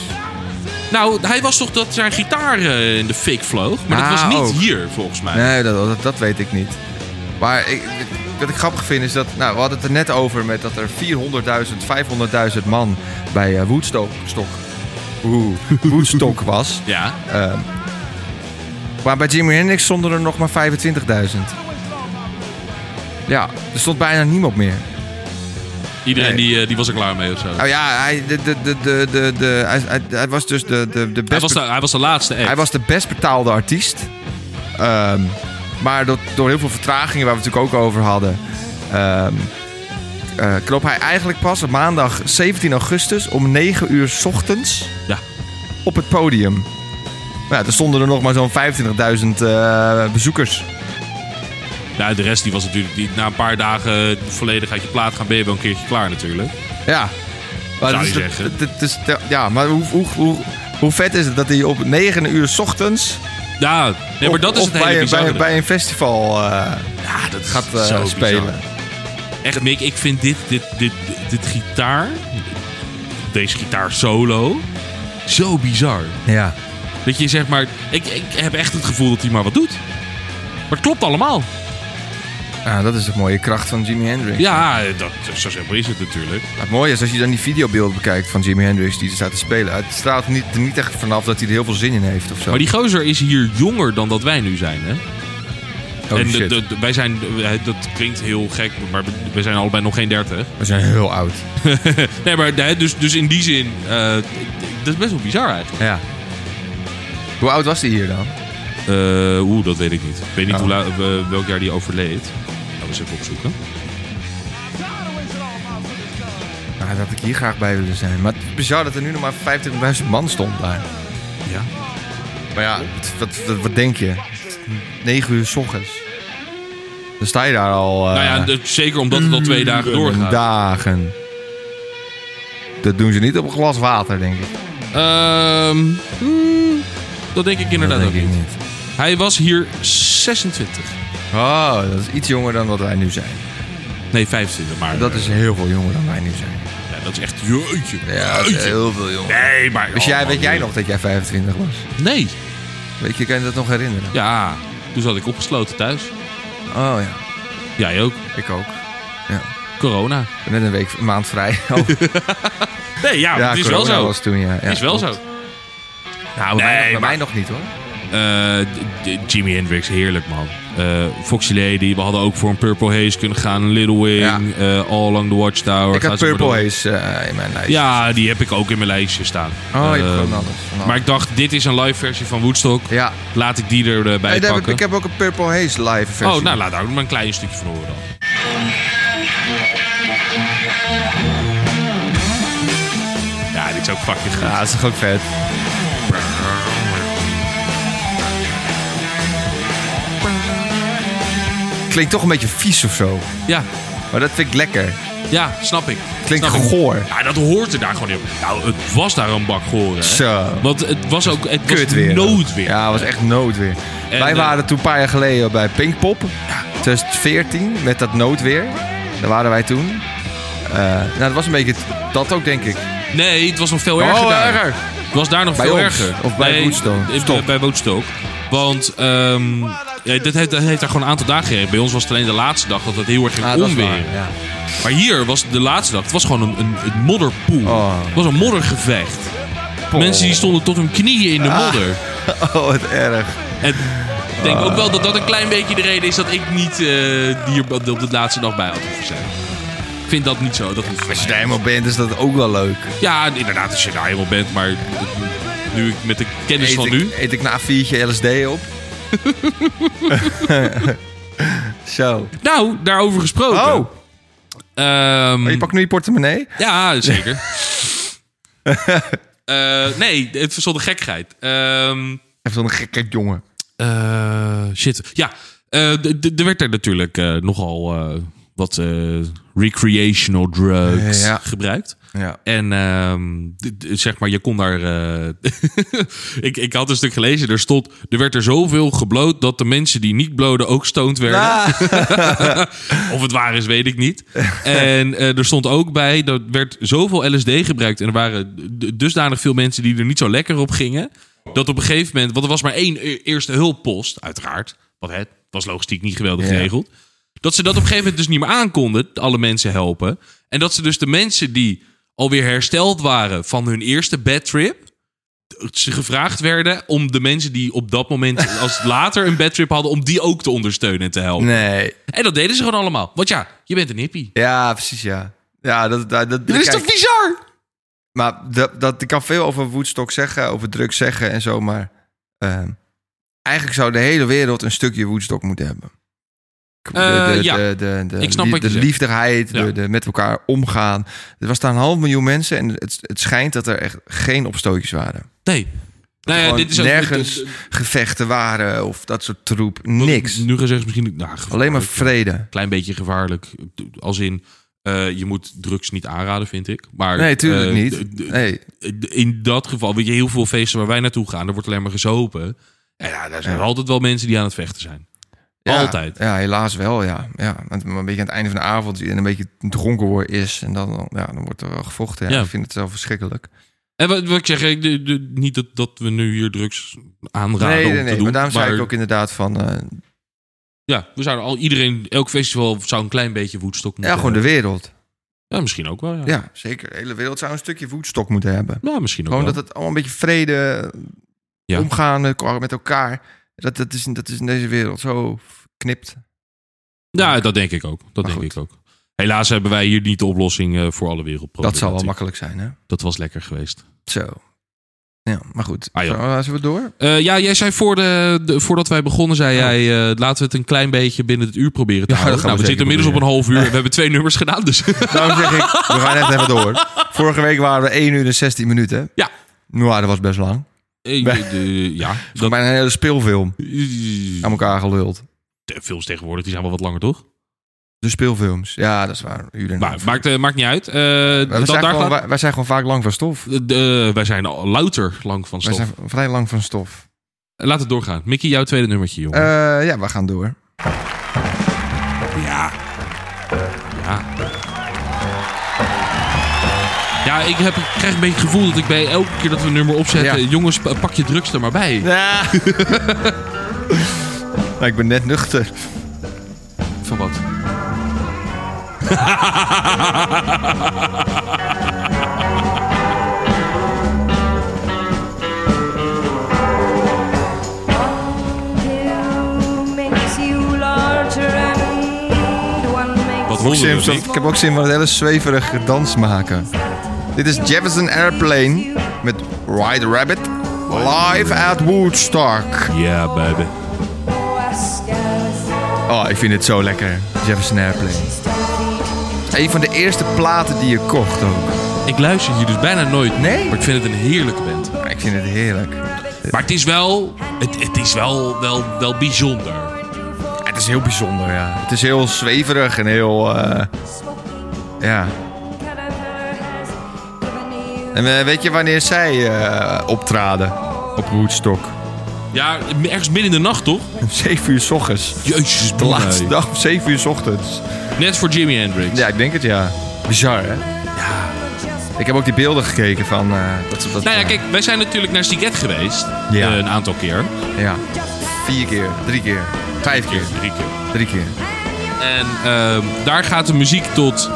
Speaker 1: Nou, hij was toch dat zijn gitaar eh, in de fik vloog? Maar dat
Speaker 2: Ah,
Speaker 1: was niet
Speaker 2: ook.
Speaker 1: hier, volgens mij.
Speaker 2: Nee, dat, dat, dat weet ik niet. Maar ik, wat ik grappig vind is dat... Nou, we hadden het er net over met dat er 400.000, 500.000 man bij eh, Woodstock, stok, oeh, Woodstock was.
Speaker 1: Ja,
Speaker 2: Ehm, maar bij Jimi Hendrix stonden er nog maar 25.000. Ja, er stond bijna niemand meer.
Speaker 1: iedereen
Speaker 2: Nee.
Speaker 1: Die, eh, die was er klaar mee of zo.
Speaker 2: Nou ja, hij, de, de, de, de, de, hij, hij, hij was dus de, de, de
Speaker 1: Hij
Speaker 2: best
Speaker 1: was, de, hij was de laatste act.
Speaker 2: Hij was de best betaalde artiest. Ehm, maar door, door heel veel vertragingen, waar we het natuurlijk ook over hadden, ehm, eh, kroop hij eigenlijk pas op maandag 17 augustus om 9 uur 's ochtends
Speaker 1: Ja.
Speaker 2: op het podium. Nou, ja, er stonden er nog maar zo'n 25.000 eh, bezoekers.
Speaker 1: Ja, de rest die was natuurlijk die, na een paar dagen eh, volledig uit je plaat gaan. Ben je wel een keertje klaar natuurlijk.
Speaker 2: Ja. Maar
Speaker 1: Zou
Speaker 2: het
Speaker 1: je
Speaker 2: is-
Speaker 1: zeggen.
Speaker 2: het- het is- ja, maar hoe, hoe, hoe, hoe vet is het dat hij op 9 uur 's ochtends...
Speaker 1: Ja, nee, maar
Speaker 2: of-
Speaker 1: dat is
Speaker 2: of
Speaker 1: het hele
Speaker 2: bij,
Speaker 1: bizarre.
Speaker 2: bij, bij een festival eh,
Speaker 1: ja, dat
Speaker 2: gaat eh,
Speaker 1: is zo
Speaker 2: spelen.
Speaker 1: bizar. Echt, Mick, ik vind dit, dit, dit, dit, dit gitaar, deze gitaar solo, zo bizar.
Speaker 2: Ja.
Speaker 1: Dat je zeg maar, ik, ik heb echt het gevoel dat hij maar wat doet. Maar het klopt allemaal.
Speaker 2: Ja, Ah, dat is de mooie kracht van Jimi Hendrix.
Speaker 1: Ja, dat, zo simpel is het natuurlijk.
Speaker 2: Het mooie is als je dan die videobeelden bekijkt van Jimi Hendrix die er staat te spelen. Het straalt niet, er niet echt vanaf dat hij er heel veel zin in heeft of zo.
Speaker 1: Maar die gozer is hier jonger dan dat wij nu zijn, hè?
Speaker 2: Oh,
Speaker 1: en de-
Speaker 2: shit.
Speaker 1: de- de- wij zijn, eh, dat klinkt heel gek, maar we zijn allebei nog geen 30.
Speaker 2: We zijn heel oud.
Speaker 1: nee, maar hè, dus, dus in die zin, eh, dat is best wel bizar eigenlijk.
Speaker 2: Ja. Hoe oud was hij hier dan?
Speaker 1: Eh, Oeh, dat weet ik niet. Ik weet niet
Speaker 2: Oh.
Speaker 1: hoe, la- eh, welk jaar die overleed. Laten we eens even opzoeken.
Speaker 2: Nou, dat had ik hier graag bij willen zijn. Maar het is bizar dat er nu nog maar 25.000 man stond daar.
Speaker 1: Ja.
Speaker 2: Maar ja, wat, wat, wat- wat denk je? 9 uur 's ochtends. Dan sta je daar al... eh,
Speaker 1: nou ja, dus zeker omdat het al twee dagen
Speaker 2: Mm,
Speaker 1: doorgaat.
Speaker 2: Dagen. Dat doen ze niet op een glas water, denk ik.
Speaker 1: Ehm, hmm, dat denk ik inderdaad
Speaker 2: dat
Speaker 1: ook
Speaker 2: denk ik
Speaker 1: niet.
Speaker 2: niet.
Speaker 1: Hij was hier 26.
Speaker 2: Oh, dat is iets jonger dan wat wij nu zijn.
Speaker 1: Nee, 25. Maar eh,
Speaker 2: Dat is heel veel jonger dan wij nu zijn.
Speaker 1: ja, dat is echt jeetje.
Speaker 2: Ja, dat is
Speaker 1: jeetje.
Speaker 2: heel veel jonger.
Speaker 1: Nee, maar...
Speaker 2: Dus
Speaker 1: oh,
Speaker 2: jij,
Speaker 1: man,
Speaker 2: weet jij
Speaker 1: joh.
Speaker 2: nog dat jij 25 was?
Speaker 1: Nee.
Speaker 2: Weet je, kan je dat nog herinneren?
Speaker 1: Ja, toen zat ik opgesloten thuis.
Speaker 2: Oh ja,
Speaker 1: Jij ook.
Speaker 2: ik ook.
Speaker 1: Corona.
Speaker 2: Ik ben Net een week, een maand vrij. Oh,
Speaker 1: Nee, ja,
Speaker 2: ja,
Speaker 1: het is
Speaker 2: corona
Speaker 1: wel zo.
Speaker 2: was toen, ja. ja
Speaker 1: het is wel
Speaker 2: klopt.
Speaker 1: zo.
Speaker 2: Nou, bij, mij,
Speaker 1: Nee,
Speaker 2: nog- bij
Speaker 1: maar- Oh,
Speaker 2: mij nog niet hoor.
Speaker 1: Eh, d- d- Jimi Hendrix, heerlijk man. Eh, Foxy Lady, we hadden ook voor een Purple Haze kunnen gaan. Little Wing,
Speaker 2: Ja.
Speaker 1: eh, All Along the Watchtower.
Speaker 2: ik
Speaker 1: Ga
Speaker 2: had
Speaker 1: zo maar
Speaker 2: Purple
Speaker 1: door.
Speaker 2: Haze eh, in mijn lijst.
Speaker 1: Ja, die heb ik ook in mijn lijstje staan.
Speaker 2: Oh, je
Speaker 1: Eh,
Speaker 2: hebt gewoon alles. van alles.
Speaker 1: Maar ik dacht, dit is een live versie van Woodstock.
Speaker 2: ja.
Speaker 1: Laat ik die erbij
Speaker 2: Hey, daar heb ik,
Speaker 1: pakken.
Speaker 2: ik heb ook een Purple Haze live versie.
Speaker 1: oh, nou laat daar ook maar een klein stukje van horen dan. Ja, dit is ook fucking gaaf.
Speaker 2: Ja, dat is toch ook vet? Klinkt toch een beetje vies of zo.
Speaker 1: Ja,
Speaker 2: Maar dat vind ik lekker.
Speaker 1: ja, snap ik.
Speaker 2: Klinkt
Speaker 1: Snap ik.
Speaker 2: goor.
Speaker 1: Ja, dat hoort er daar gewoon in. Nou, het was daar een bak goor, hè?
Speaker 2: Zo.
Speaker 1: Want het was ook het was
Speaker 2: Kut weer.
Speaker 1: noodweer.
Speaker 2: Ja, het was echt noodweer.
Speaker 1: En,
Speaker 2: Wij
Speaker 1: eh,
Speaker 2: waren toen een paar jaar geleden bij Pinkpop. 2014, met dat noodweer. Daar waren wij toen. Eh, nou, dat was een beetje t- dat ook, denk ik.
Speaker 1: Nee, het was nog veel erger daar. Het was daar nog
Speaker 2: Oh, Bij
Speaker 1: veel
Speaker 2: ons,
Speaker 1: erger.
Speaker 2: of bij
Speaker 1: nee,
Speaker 2: Woodstock.
Speaker 1: eh,
Speaker 2: Stok.
Speaker 1: Bij Woodstock. Want ehm ja, dit heeft, dat heeft daar gewoon een aantal dagen gereden. Bij ons was het alleen de laatste dag dat het heel erg ging
Speaker 2: Ah, dat is
Speaker 1: onweer.
Speaker 2: waar, ja.
Speaker 1: Maar hier was de laatste dag. Het was gewoon een, een, een modderpoel.
Speaker 2: Oh.
Speaker 1: Het was een moddergevecht. Mensen die stonden tot hun knieën in de
Speaker 2: Ah.
Speaker 1: modder.
Speaker 2: Oh, wat erg.
Speaker 1: En ik denk
Speaker 2: Ah.
Speaker 1: ook wel dat dat een klein beetje de reden is dat ik niet eh, hier op de- op de laatste dag bij had hoeven zijn. Ik vind dat niet zo. Dat hoeft voor
Speaker 2: Als je
Speaker 1: mij.
Speaker 2: daar helemaal bent, is dat ook wel leuk.
Speaker 1: Ja, inderdaad, als je daar helemaal bent. Maar nu ik met de kennis
Speaker 2: Eet
Speaker 1: van
Speaker 2: ik,
Speaker 1: nu...
Speaker 2: Eet ik na een viertje LSD op. Zo.
Speaker 1: Nou, daarover gesproken.
Speaker 2: Oh,
Speaker 1: Ehm,
Speaker 2: je pakt nu je portemonnee?
Speaker 1: Ja, zeker. Eh, nee, het verzonde gekheid. Ehm,
Speaker 2: Even zo'n gekke jongen.
Speaker 1: eh, shit. Ja, eh, d- d- er werd er natuurlijk eh, nogal eh, wat eh, recreational drugs
Speaker 2: Ja.
Speaker 1: gebruikt.
Speaker 2: Ja.
Speaker 1: En ehm, d- d- zeg maar, je kon daar. eh, ik, ik had een stuk gelezen, er stond. Er werd er zoveel gebloot dat de mensen die niet bloden ook stoned werden. of het waar is, weet ik niet. En eh, er stond ook bij, dat werd zoveel LSD gebruikt. En er waren d- dusdanig veel mensen die er niet zo lekker op gingen. Dat op een gegeven moment, want er was maar één e- eerste hulppost, uiteraard. Want hè, het was logistiek niet geweldig
Speaker 2: Ja.
Speaker 1: geregeld. Dat ze dat op een gegeven moment dus niet meer aankonden, alle mensen helpen. En dat ze dus de mensen die alweer hersteld waren van hun eerste bedtrip ze gevraagd werden om de mensen die op dat moment als later een bedtrip hadden, om die ook te ondersteunen en te helpen.
Speaker 2: Nee.
Speaker 1: En dat deden ze gewoon allemaal. Want ja, je bent een hippie.
Speaker 2: Ja, precies, ja. Ja, dat... dat, dat
Speaker 1: Dat is
Speaker 2: kijk,
Speaker 1: toch bizar?
Speaker 2: Maar dat, dat, ik kan veel over Woodstock zeggen, over drugs zeggen en zo, maar... ehm, eigenlijk zou de hele wereld een stukje Woodstock moeten hebben. de, de,
Speaker 1: Eh, ja.
Speaker 2: de, de, de,
Speaker 1: Ik snap
Speaker 2: lie-
Speaker 1: wat je
Speaker 2: de
Speaker 1: zegt.
Speaker 2: liefderheid,
Speaker 1: Ja.
Speaker 2: de, de met elkaar omgaan. Er was daar een half miljoen mensen en het, het schijnt dat er echt geen opstootjes waren.
Speaker 1: Nee. Nou ja,
Speaker 2: Gewoon
Speaker 1: dit is ook
Speaker 2: nergens gevechten waren of dat soort troep. Niks.
Speaker 1: Nu gezegd misschien... Nou, gevaarlijk.
Speaker 2: Alleen maar vrede.
Speaker 1: klein beetje gevaarlijk. Als in, eh, je moet drugs niet aanraden, vind ik. Maar,
Speaker 2: Nee, tuurlijk
Speaker 1: eh,
Speaker 2: niet.
Speaker 1: d- d-
Speaker 2: Nee.
Speaker 1: d- In dat geval, weet je, heel veel feesten waar wij naartoe gaan, er wordt alleen maar gezopen. En ja, daar zijn
Speaker 2: Ja.
Speaker 1: altijd wel mensen die aan het vechten zijn.
Speaker 2: Ja,
Speaker 1: Altijd.
Speaker 2: Ja, helaas wel, ja. ja. Want een beetje aan het einde van de avond en een beetje dronken wordt is. En dan, ja, dan wordt er wel gevochten. Ja.
Speaker 1: Ja.
Speaker 2: Ik vind het wel verschrikkelijk.
Speaker 1: En wat, wat ik zeg, ik, de- de- niet dat, dat we nu hier drugs aanraden
Speaker 2: nee,
Speaker 1: om
Speaker 2: nee,
Speaker 1: te
Speaker 2: nee.
Speaker 1: doen.
Speaker 2: Maar daarom zei
Speaker 1: maar-
Speaker 2: ik ook inderdaad van... eh,
Speaker 1: Ja, we zouden al iedereen, elk festival zou een klein beetje woedstok moeten
Speaker 2: ja, gewoon de
Speaker 1: hebben.
Speaker 2: wereld.
Speaker 1: Ja, misschien ook wel, eh, ja.
Speaker 2: Ja, zeker. De hele wereld zou een stukje voetstok moeten hebben.
Speaker 1: Ja, misschien ook
Speaker 2: Gewoon
Speaker 1: wel.
Speaker 2: Oh, dat het allemaal een beetje vrede,
Speaker 1: Ja.
Speaker 2: omgaan eh, met elkaar. Dat, dat, is, dat is in deze wereld zo knipt.
Speaker 1: Ja, dat denk ik ook. Dat
Speaker 2: Maar
Speaker 1: denk
Speaker 2: goed.
Speaker 1: ik ook. Helaas hebben wij hier niet de oplossing eh, voor alle wereldproblemen.
Speaker 2: Dat zal wel makkelijk zijn, hè?
Speaker 1: Dat was lekker geweest.
Speaker 2: Zo. Ja, maar goed.
Speaker 1: Ah, ja.
Speaker 2: Zullen we- zullen we door?
Speaker 1: Eh, ja, jij zei voor de, de- voordat wij begonnen, zei
Speaker 2: Oh.
Speaker 1: jij, eh, laten we het een klein beetje binnen het uur proberen te
Speaker 2: Ja, dat
Speaker 1: houden.
Speaker 2: gaan
Speaker 1: Nou,
Speaker 2: we
Speaker 1: we zitten
Speaker 2: zeker
Speaker 1: inmiddels op een half uur. en We hebben twee nummers gedaan, dus
Speaker 2: Daarom zeg ik, we gaan echt even door. Vorige week waren we 1 uur en 16 minuten.
Speaker 1: Ja.
Speaker 2: Nou, dat was best lang.
Speaker 1: Eh, de- de- ja, dat,
Speaker 2: Bijna een hele speelfilm aan
Speaker 1: de
Speaker 2: elkaar geluld.
Speaker 1: films tegenwoordig, die zijn wel wat langer, toch?
Speaker 2: De speelfilms. Ja, dat is waar. Uur en een
Speaker 1: Maar
Speaker 2: half.
Speaker 1: maakt, eh, maakt niet uit. Eh,
Speaker 2: Maar we
Speaker 1: dat-
Speaker 2: zijn
Speaker 1: daar
Speaker 2: gewoon,
Speaker 1: gaat-
Speaker 2: wij, wij zijn gewoon vaak lang van stof.
Speaker 1: de- eh, wij zijn al louter lang van
Speaker 2: Wij
Speaker 1: stof.
Speaker 2: zijn vrij lang van stof.
Speaker 1: Laat het doorgaan. Mickey, jouw tweede nummertje, jongen.
Speaker 2: Eh, ja, we gaan door.
Speaker 1: Ja. Ja. Ja, ik, heb, ik krijg een beetje het gevoel dat ik bij elke keer dat we een nummer opzetten...
Speaker 2: Ja.
Speaker 1: Jongens, pa- pak je drugs er maar bij.
Speaker 2: Ja. nou, ik ben net nuchter.
Speaker 1: Van wat?
Speaker 4: makes you larger and one makes
Speaker 1: Wat honden we,
Speaker 2: Simpson.
Speaker 1: Mick?
Speaker 2: Ik heb ook zin van het hele zweverige dans maken. Dit is Jefferson Airplane met Ride Rabbit. Live at Woodstock.
Speaker 1: Ja, baby.
Speaker 2: Oh, ik vind het zo lekker. Jefferson Airplane. Een van de eerste platen die je kocht ook.
Speaker 1: Ik luister hier dus bijna nooit.
Speaker 2: Nee?
Speaker 1: Maar ik vind het een heerlijke band.
Speaker 2: Maar Ah, Ik vind het heerlijk. Ah,
Speaker 1: Maar het is wel... Het, het is wel, wel, wel bijzonder.
Speaker 2: Het is heel bijzonder, ja. Het is heel zweverig en heel... eh, ja. En eh, weet je wanneer zij eh, optraden op Woodstock?
Speaker 1: Ja, ergens midden in de nacht, toch?
Speaker 2: Om 7 uur s ochtends.
Speaker 1: Jezus,
Speaker 2: De laatste dag om 7 uur s ochtends.
Speaker 1: Net voor Jimi Hendrix.
Speaker 2: Ja, ik denk het ja. Bizar, hè? Ja. Ik heb ook die beelden gekeken van eh, dat ze dat.
Speaker 1: Nou ja,
Speaker 2: eh,
Speaker 1: kijk, wij zijn natuurlijk naar Stiget geweest.
Speaker 2: Ja.
Speaker 1: eh, een aantal keer.
Speaker 2: Ja. Vier keer, drie keer, vijf keer,
Speaker 1: Drie keer.
Speaker 2: drie keer.
Speaker 1: En ehm, daar gaat de muziek tot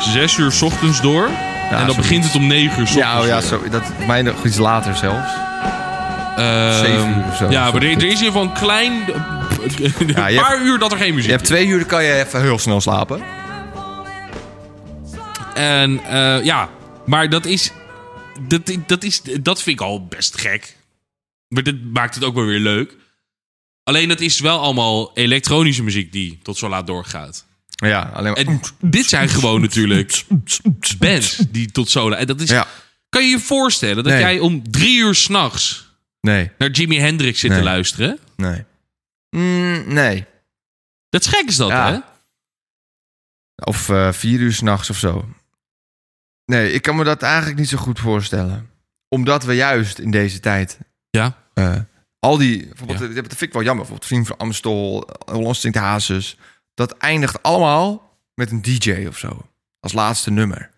Speaker 1: 6 uur 's ochtends door. en dan
Speaker 2: zoiets.
Speaker 1: begint het om 9 uur 's ochtends.
Speaker 2: Ja, oh ja,
Speaker 1: weer.
Speaker 2: zo, dat mij nog iets later zelfs.
Speaker 1: Ehm,
Speaker 2: zeven uur of zo.
Speaker 1: Ja, maar er, er is in ieder geval een klein. een
Speaker 2: Ja,
Speaker 1: paar
Speaker 2: je
Speaker 1: uur dat er geen muziek
Speaker 2: Je hebt
Speaker 1: is.
Speaker 2: twee uur, dan kan je even heel snel slapen.
Speaker 1: En eh, ja, maar dat is, dat, dat is. Dat vind ik al best gek. Maar dat maakt het ook wel weer leuk. Alleen dat is wel allemaal elektronische muziek die tot zo laat doorgaat.
Speaker 2: Ja, alleen maar.
Speaker 1: En dit zijn gewoon natuurlijk bands die tot zo laat. En dat is
Speaker 2: Ja,
Speaker 1: Kan je je voorstellen dat
Speaker 2: Nee.
Speaker 1: jij om drie uur s'nachts
Speaker 2: nee,
Speaker 1: naar Jimi Hendrix zit
Speaker 2: Nee.
Speaker 1: te luisteren?
Speaker 2: nee. Mm, nee.
Speaker 1: Dat is gek is dat,
Speaker 2: Ja.
Speaker 1: hè?
Speaker 2: Of eh, vier uur s'nachts of zo. Nee, ik kan me dat eigenlijk niet zo goed voorstellen. Omdat we juist in deze tijd
Speaker 1: Ja.
Speaker 2: eh, al die... Bijvoorbeeld,
Speaker 1: Ja.
Speaker 2: eh, Dat vind ik wel jammer. Bijvoorbeeld Vriend van Amstel, eh, Hollands Stinkt Hazes. Dat eindigt allemaal met een DJ of zo. Als laatste nummer.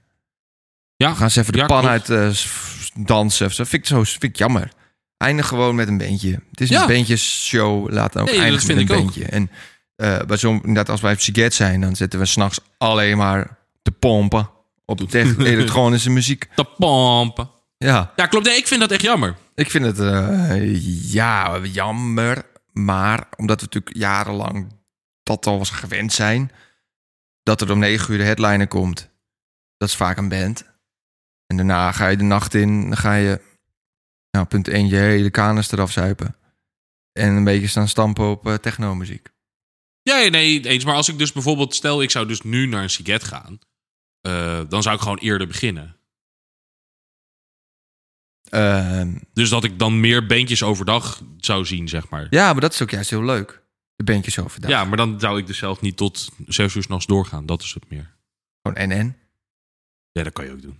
Speaker 1: Ja.
Speaker 2: Dan gaan ze even de
Speaker 1: Ja,
Speaker 2: pan
Speaker 1: klopt.
Speaker 2: uit eh, s- dansen of zo. Vind ik, zo, vind ik jammer. Eindig gewoon met een bandje. Het is
Speaker 1: Ja.
Speaker 2: een bandjesshow. Laat dan ook
Speaker 1: Nee, dat
Speaker 2: eindigen
Speaker 1: vind
Speaker 2: met een
Speaker 1: ik ook.
Speaker 2: bandje. En eh, bij zo'n- inderdaad, als wij op Siget zijn... dan zitten we s'nachts alleen maar te pompen... op tech- elektronische muziek.
Speaker 1: Te pompen.
Speaker 2: Ja.
Speaker 1: Ja, klopt. Nee, ik vind dat echt jammer.
Speaker 2: Ik vind het eh, ja, jammer. Maar omdat we natuurlijk jarenlang dat al was gewend zijn. Dat er om negen uur de headliner komt. Dat is vaak een band. En daarna ga je de nacht in. Dan ga je, nou, punt 1, je hele kanus eraf zuipen. En een beetje staan stampen op eh, technomuziek.
Speaker 1: Ja, ja, nee, eens. Maar als ik dus bijvoorbeeld, stel ik zou dus nu naar een siget gaan, eh, dan zou ik gewoon eerder beginnen.
Speaker 2: Ehm,
Speaker 1: Dus dat ik dan meer bandjes overdag zou zien, zeg maar.
Speaker 2: ja, maar dat is ook juist heel leuk. De bandjes overdag.
Speaker 1: Ja, maar dan zou ik dus zelf niet tot zes uur s'nachts doorgaan. Dat is het meer.
Speaker 2: Gewoon en en.
Speaker 1: Ja, dat kan je ook doen.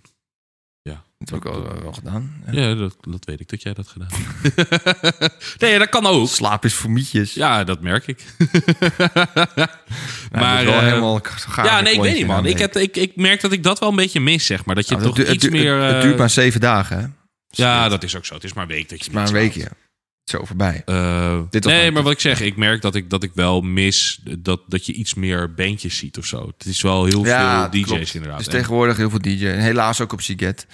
Speaker 2: Dat heb ik wel, wel gedaan. Ja.
Speaker 1: Ja, dat, dat weet ik dat jij dat gedaan hebt. nee, ja, dat kan ook.
Speaker 2: Slaap is voor mietjes.
Speaker 1: Ja, dat merk ik.
Speaker 2: Nou, dat
Speaker 1: maar
Speaker 2: is wel
Speaker 1: eh,
Speaker 2: helemaal gaar
Speaker 1: ja, nee, ik weet
Speaker 2: klontje
Speaker 1: niet, man.
Speaker 2: daarmee.
Speaker 1: Ik, heb, ik, ik merk dat ik dat wel een beetje mis, zeg maar. Dat je
Speaker 2: Nou,
Speaker 1: toch
Speaker 2: dat du- het
Speaker 1: iets
Speaker 2: du-
Speaker 1: meer...
Speaker 2: het, het
Speaker 1: eh,
Speaker 2: duurt maar zeven dagen, hè? Dus
Speaker 1: ja,
Speaker 2: het
Speaker 1: dat is ook zo. Het is maar een week dat je
Speaker 2: is maar een
Speaker 1: niet slaapt.
Speaker 2: weekje. Zo voorbij.
Speaker 1: Eh,
Speaker 2: Dit was
Speaker 1: nee,
Speaker 2: leuk.
Speaker 1: maar wat ik zeg, ik merk dat ik, dat ik wel mis dat, dat je iets meer bandjes ziet of zo. Het is wel heel
Speaker 2: Ja,
Speaker 1: veel DJ's
Speaker 2: klopt.
Speaker 1: inderdaad.
Speaker 2: Dus
Speaker 1: En
Speaker 2: tegenwoordig heel veel DJ. En helaas ook op Siget.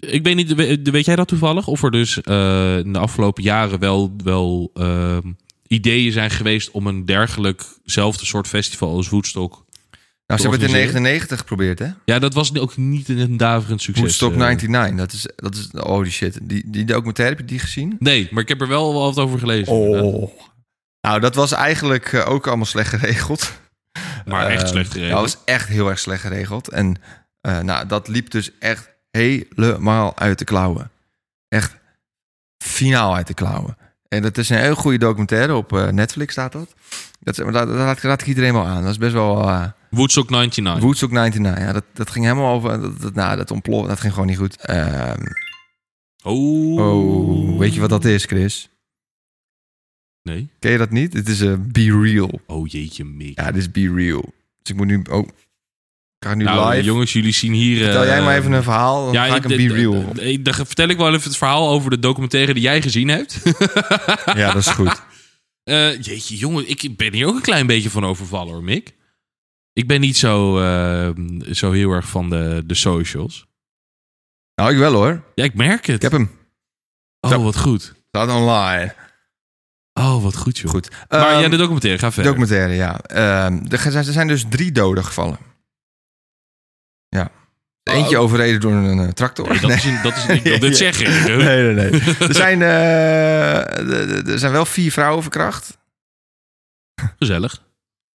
Speaker 1: Ik weet niet, we- weet jij dat toevallig? Of er dus eh, in de afgelopen jaren wel, wel ehm, ideeën zijn geweest om een dergelijkzelfde soort festival als Woodstock.
Speaker 2: Nou, ze hebben het in
Speaker 1: organiseren?
Speaker 2: 99 geprobeerd, hè?
Speaker 1: Ja, dat was ook niet een daverend succes.
Speaker 2: Woodstock
Speaker 1: eh.
Speaker 2: 99. Dat is, dat is, oh die shit. Die, die documentaire, heb je die gezien?
Speaker 1: Nee, maar ik heb er wel wat over gelezen. inderdaad.
Speaker 2: Nou, dat was eigenlijk eh, ook allemaal slecht geregeld.
Speaker 1: Maar echt
Speaker 2: Eh,
Speaker 1: slecht
Speaker 2: Ja,
Speaker 1: geregeld.
Speaker 2: dat was echt heel erg slecht geregeld. En eh, nou, dat liep dus echt helemaal uit de klauwen. Echt finaal uit de klauwen. En dat is een heel goede documentaire. Op eh, Netflix staat dat. Dat, is- dat, dat raad, ik- raad ik iedereen wel aan. Dat is best wel...
Speaker 1: Ah,
Speaker 2: eh,
Speaker 1: Woodstock 99.
Speaker 2: Woodstock 99. Ja, dat, dat ging helemaal over... Dat, dat, nou, dat ontplof, Dat ging gewoon niet goed. Ehm,
Speaker 1: oh.
Speaker 2: oh, weet je wat dat is, Chris?
Speaker 1: Nee.
Speaker 2: Ken je dat niet? Het is een Be Real.
Speaker 1: Oh jeetje, Mick.
Speaker 2: Ja, dit is Be Real. Dus ik moet nu... Oh, ik ga nu
Speaker 1: nou,
Speaker 2: live.
Speaker 1: jongens, jullie zien hier... eh,
Speaker 2: Vertel jij maar even een verhaal, dan ga ik een
Speaker 1: d-
Speaker 2: Be
Speaker 1: d-
Speaker 2: Real.
Speaker 1: d- ik- Dan vertel ik wel even het verhaal over de documentaire die jij gezien hebt.
Speaker 2: Ja, dat is goed.
Speaker 1: Eh, jeetje, jongen, ik ben hier ook een klein beetje van overvallen hoor, Mick. Ik ben niet zo, eh, zo heel erg van de, de socials.
Speaker 2: Nou, ik wel hoor.
Speaker 1: Ja, ik merk het.
Speaker 2: Ik heb hem.
Speaker 1: oh, wat goed.
Speaker 2: Staat online.
Speaker 1: Oh, wat goed, joh.
Speaker 2: Goed.
Speaker 1: Maar
Speaker 2: Ehm,
Speaker 1: ja, de documentaire, ga verder.
Speaker 2: documentaire, ja. Ehm, er, zijn- er zijn dus drie doden gevallen. Ja. Eentje overreden door een eh, tractor.
Speaker 1: Nee, dat is, een- dat is, ik wil dit
Speaker 2: Ja.
Speaker 1: zeggen. Huh?
Speaker 2: Nee, nee, nee. Er zijn, eh, er- er- er zijn wel vier vrouwen verkracht.
Speaker 1: Gezellig.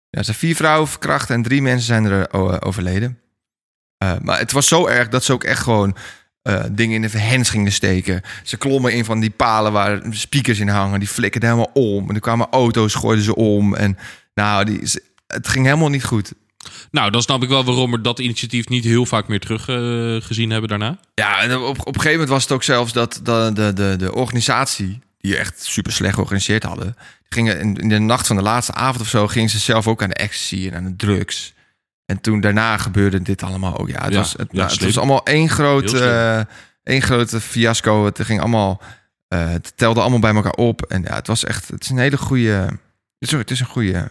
Speaker 2: Ja, er zijn vier vrouwen verkracht en drie mensen zijn er eh, o- eh, overleden. Eh, maar het was zo erg dat ze ook echt gewoon eh, dingen in de verhens gingen steken. Ze klommen in van die palen waar speakers in hangen. Die flikkerden helemaal om. En er kwamen auto's, gooiden ze om. En nou, die, ze- het ging helemaal niet goed.
Speaker 1: Nou, dan snap ik wel waarom we dat initiatief niet heel vaak meer teruggezien gezien hebben daarna.
Speaker 2: Ja, en op, op een gegeven moment was het ook zelfs dat de, de, de, de organisatie, die echt super slecht georganiseerd hadden, gingen in, in de nacht van de laatste avond of zo, gingen ze zelf ook aan de ecstasy en aan de drugs. En toen daarna gebeurde dit allemaal ook. Ja, het,
Speaker 1: Ja,
Speaker 2: was, het,
Speaker 1: ja,
Speaker 2: nou, het
Speaker 1: slim.
Speaker 2: was allemaal één groot,
Speaker 1: Heel slim.
Speaker 2: eh, één grote fiasco. Het ging allemaal, eh, het telde allemaal bij elkaar op. En ja, het was echt, het is een hele goede, sorry, het is een goede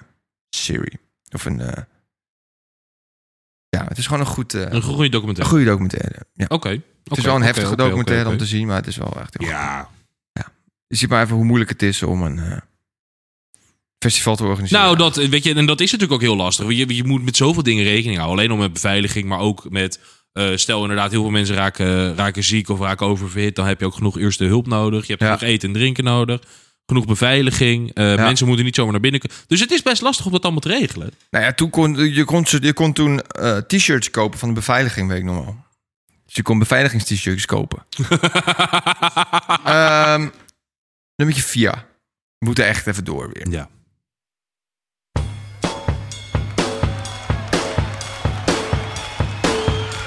Speaker 2: serie. Of een, eh, ja, het is gewoon een goed, eh,
Speaker 1: Een goede
Speaker 2: een
Speaker 1: documentaire.
Speaker 2: goede documentaire. Ja.
Speaker 1: Oké.
Speaker 2: Het is wel een heftige documentaire om te zien, maar het is wel echt heel goed.
Speaker 1: Ja.
Speaker 2: Je ziet maar even hoe moeilijk het is om een eh, festival te organiseren.
Speaker 1: Nou, dat, weet je, en dat is natuurlijk ook heel lastig. want Je, je moet met zoveel dingen rekening houden. Alleen al met beveiliging, maar ook met... eh, stel inderdaad, heel veel mensen raken, raken ziek of raken oververhit. Dan heb je ook genoeg eerste hulp nodig. Je hebt
Speaker 2: Ja.
Speaker 1: genoeg eten en drinken nodig. Genoeg beveiliging. Eh,
Speaker 2: Ja.
Speaker 1: Mensen moeten niet zomaar naar binnen kunnen. Dus het is best lastig om dat allemaal te regelen.
Speaker 2: Nou ja, toen kon, je, kon, ze- je kon toen eh, t-shirts kopen van de beveiliging, weet ik nog wel. Dus je kon beveiligingst-shirts kopen. Ehm nummertje 4. We moeten echt even door weer.
Speaker 1: Ja.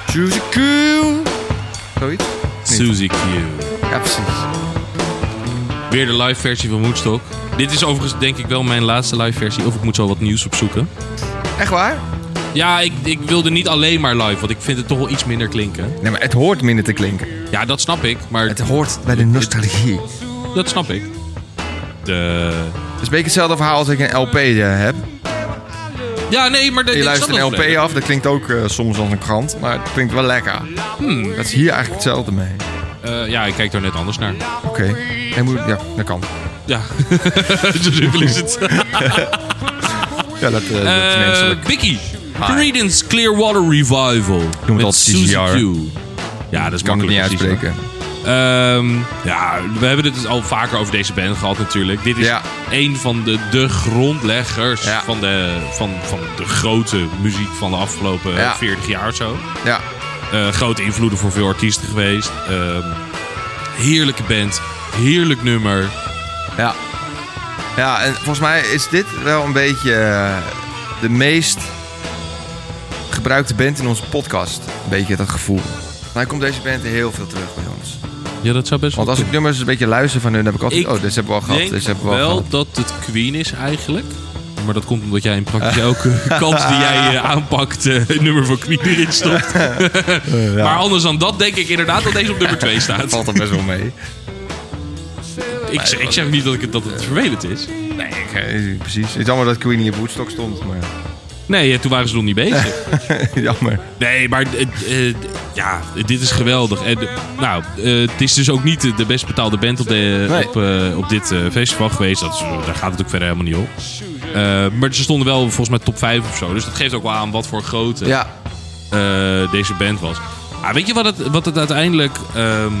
Speaker 2: Choose a cool. Zoiets?
Speaker 1: Suzy Q.
Speaker 2: Ja, precies.
Speaker 1: Weer de live versie van Woodstock. Dit is overigens denk ik wel mijn laatste live versie. Of ik moet zo wat nieuws opzoeken.
Speaker 2: Echt waar?
Speaker 1: Ja, ik, ik wilde niet alleen maar live, want ik vind het toch wel iets minder klinken.
Speaker 2: Nee, maar het hoort minder te klinken.
Speaker 1: Ja, dat snap ik, maar
Speaker 2: Het hoort bij de nostalgie.
Speaker 1: dat snap ik. De...
Speaker 2: Het is een beetje hetzelfde verhaal als ik een LP eh, heb.
Speaker 1: Ja, nee, maar dat
Speaker 2: Je
Speaker 1: ik
Speaker 2: luistert een
Speaker 1: snap
Speaker 2: LP
Speaker 1: dat wel.
Speaker 2: af, dat klinkt ook eh, soms als een krant, maar het klinkt wel lekker.
Speaker 1: Hmm.
Speaker 2: Dat is hier eigenlijk hetzelfde mee.
Speaker 1: Eh, ja, ik kijk daar net anders naar.
Speaker 2: Oké. Hij moet- Ja, dat kan.
Speaker 1: Ja, zo simpel is het.
Speaker 2: Ja, dat, eh, dat is menselijk.
Speaker 1: Eh Bicky, Creedence Clearwater Revival.
Speaker 2: het
Speaker 1: met
Speaker 2: altijd
Speaker 1: Suzy Q.
Speaker 2: CCR.
Speaker 1: Ja, dat is
Speaker 2: Ik kan het niet
Speaker 1: makkelijk precies,
Speaker 2: uitspreken.
Speaker 1: hoor. Ehm, ja, we hebben het dus al vaker over deze band gehad natuurlijk. Dit is
Speaker 2: Ja.
Speaker 1: een van de, de grondleggers
Speaker 2: Ja.
Speaker 1: van, de, van, van de grote muziek van de afgelopen
Speaker 2: Ja.
Speaker 1: 40 jaar of zo.
Speaker 2: Ja.
Speaker 1: Eh, grote invloeden voor veel artiesten geweest. Ehm, heerlijke band. Heerlijk nummer.
Speaker 2: Ja. Ja, en volgens mij is dit wel een beetje eh, de meest gebruikte band in onze podcast. Een beetje dat gevoel. Maar komt deze band heel veel terug bij ons.
Speaker 1: Ja, dat zou best
Speaker 2: Want als ik nummers een beetje luister van hun, dan heb ik altijd...
Speaker 1: Ik
Speaker 2: oh, dit hebben we al gehad.
Speaker 1: denk
Speaker 2: Dit hebben we al
Speaker 1: wel
Speaker 2: gehad.
Speaker 1: dat het Queen is eigenlijk. Maar dat komt omdat jij in praktisch elke kans die jij eh, aanpakt... eh, het nummer van Queen erin stopt. Eh, Maar anders dan dat denk ik inderdaad dat deze op nummer 2
Speaker 2: Dat
Speaker 1: staat.
Speaker 2: valt er best wel mee.
Speaker 1: Ik, zeg- ik zeg niet dat, ik, het- dat het vervelend is.
Speaker 2: Nee, ik, eh, precies. Het is jammer dat Queenie op Woodstock stond, maar
Speaker 1: Nee, eh, toen waren ze nog niet bezig.
Speaker 2: jammer.
Speaker 1: Nee, maar eh, eh, ja, dit is geweldig. En, eh, nou, eh, het is dus ook niet de- de best betaalde band op, de,
Speaker 2: Nee.
Speaker 1: op, eh, op dit eh, festival geweest. Dat is, daar gaat het ook verder helemaal niet om. Eh, maar ze stonden wel volgens mij top 5 of zo. Dus dat geeft ook wel aan wat voor grote
Speaker 2: Ja,
Speaker 1: eh, deze band was. Ah, weet je wat het, wat het uiteindelijk... ehm,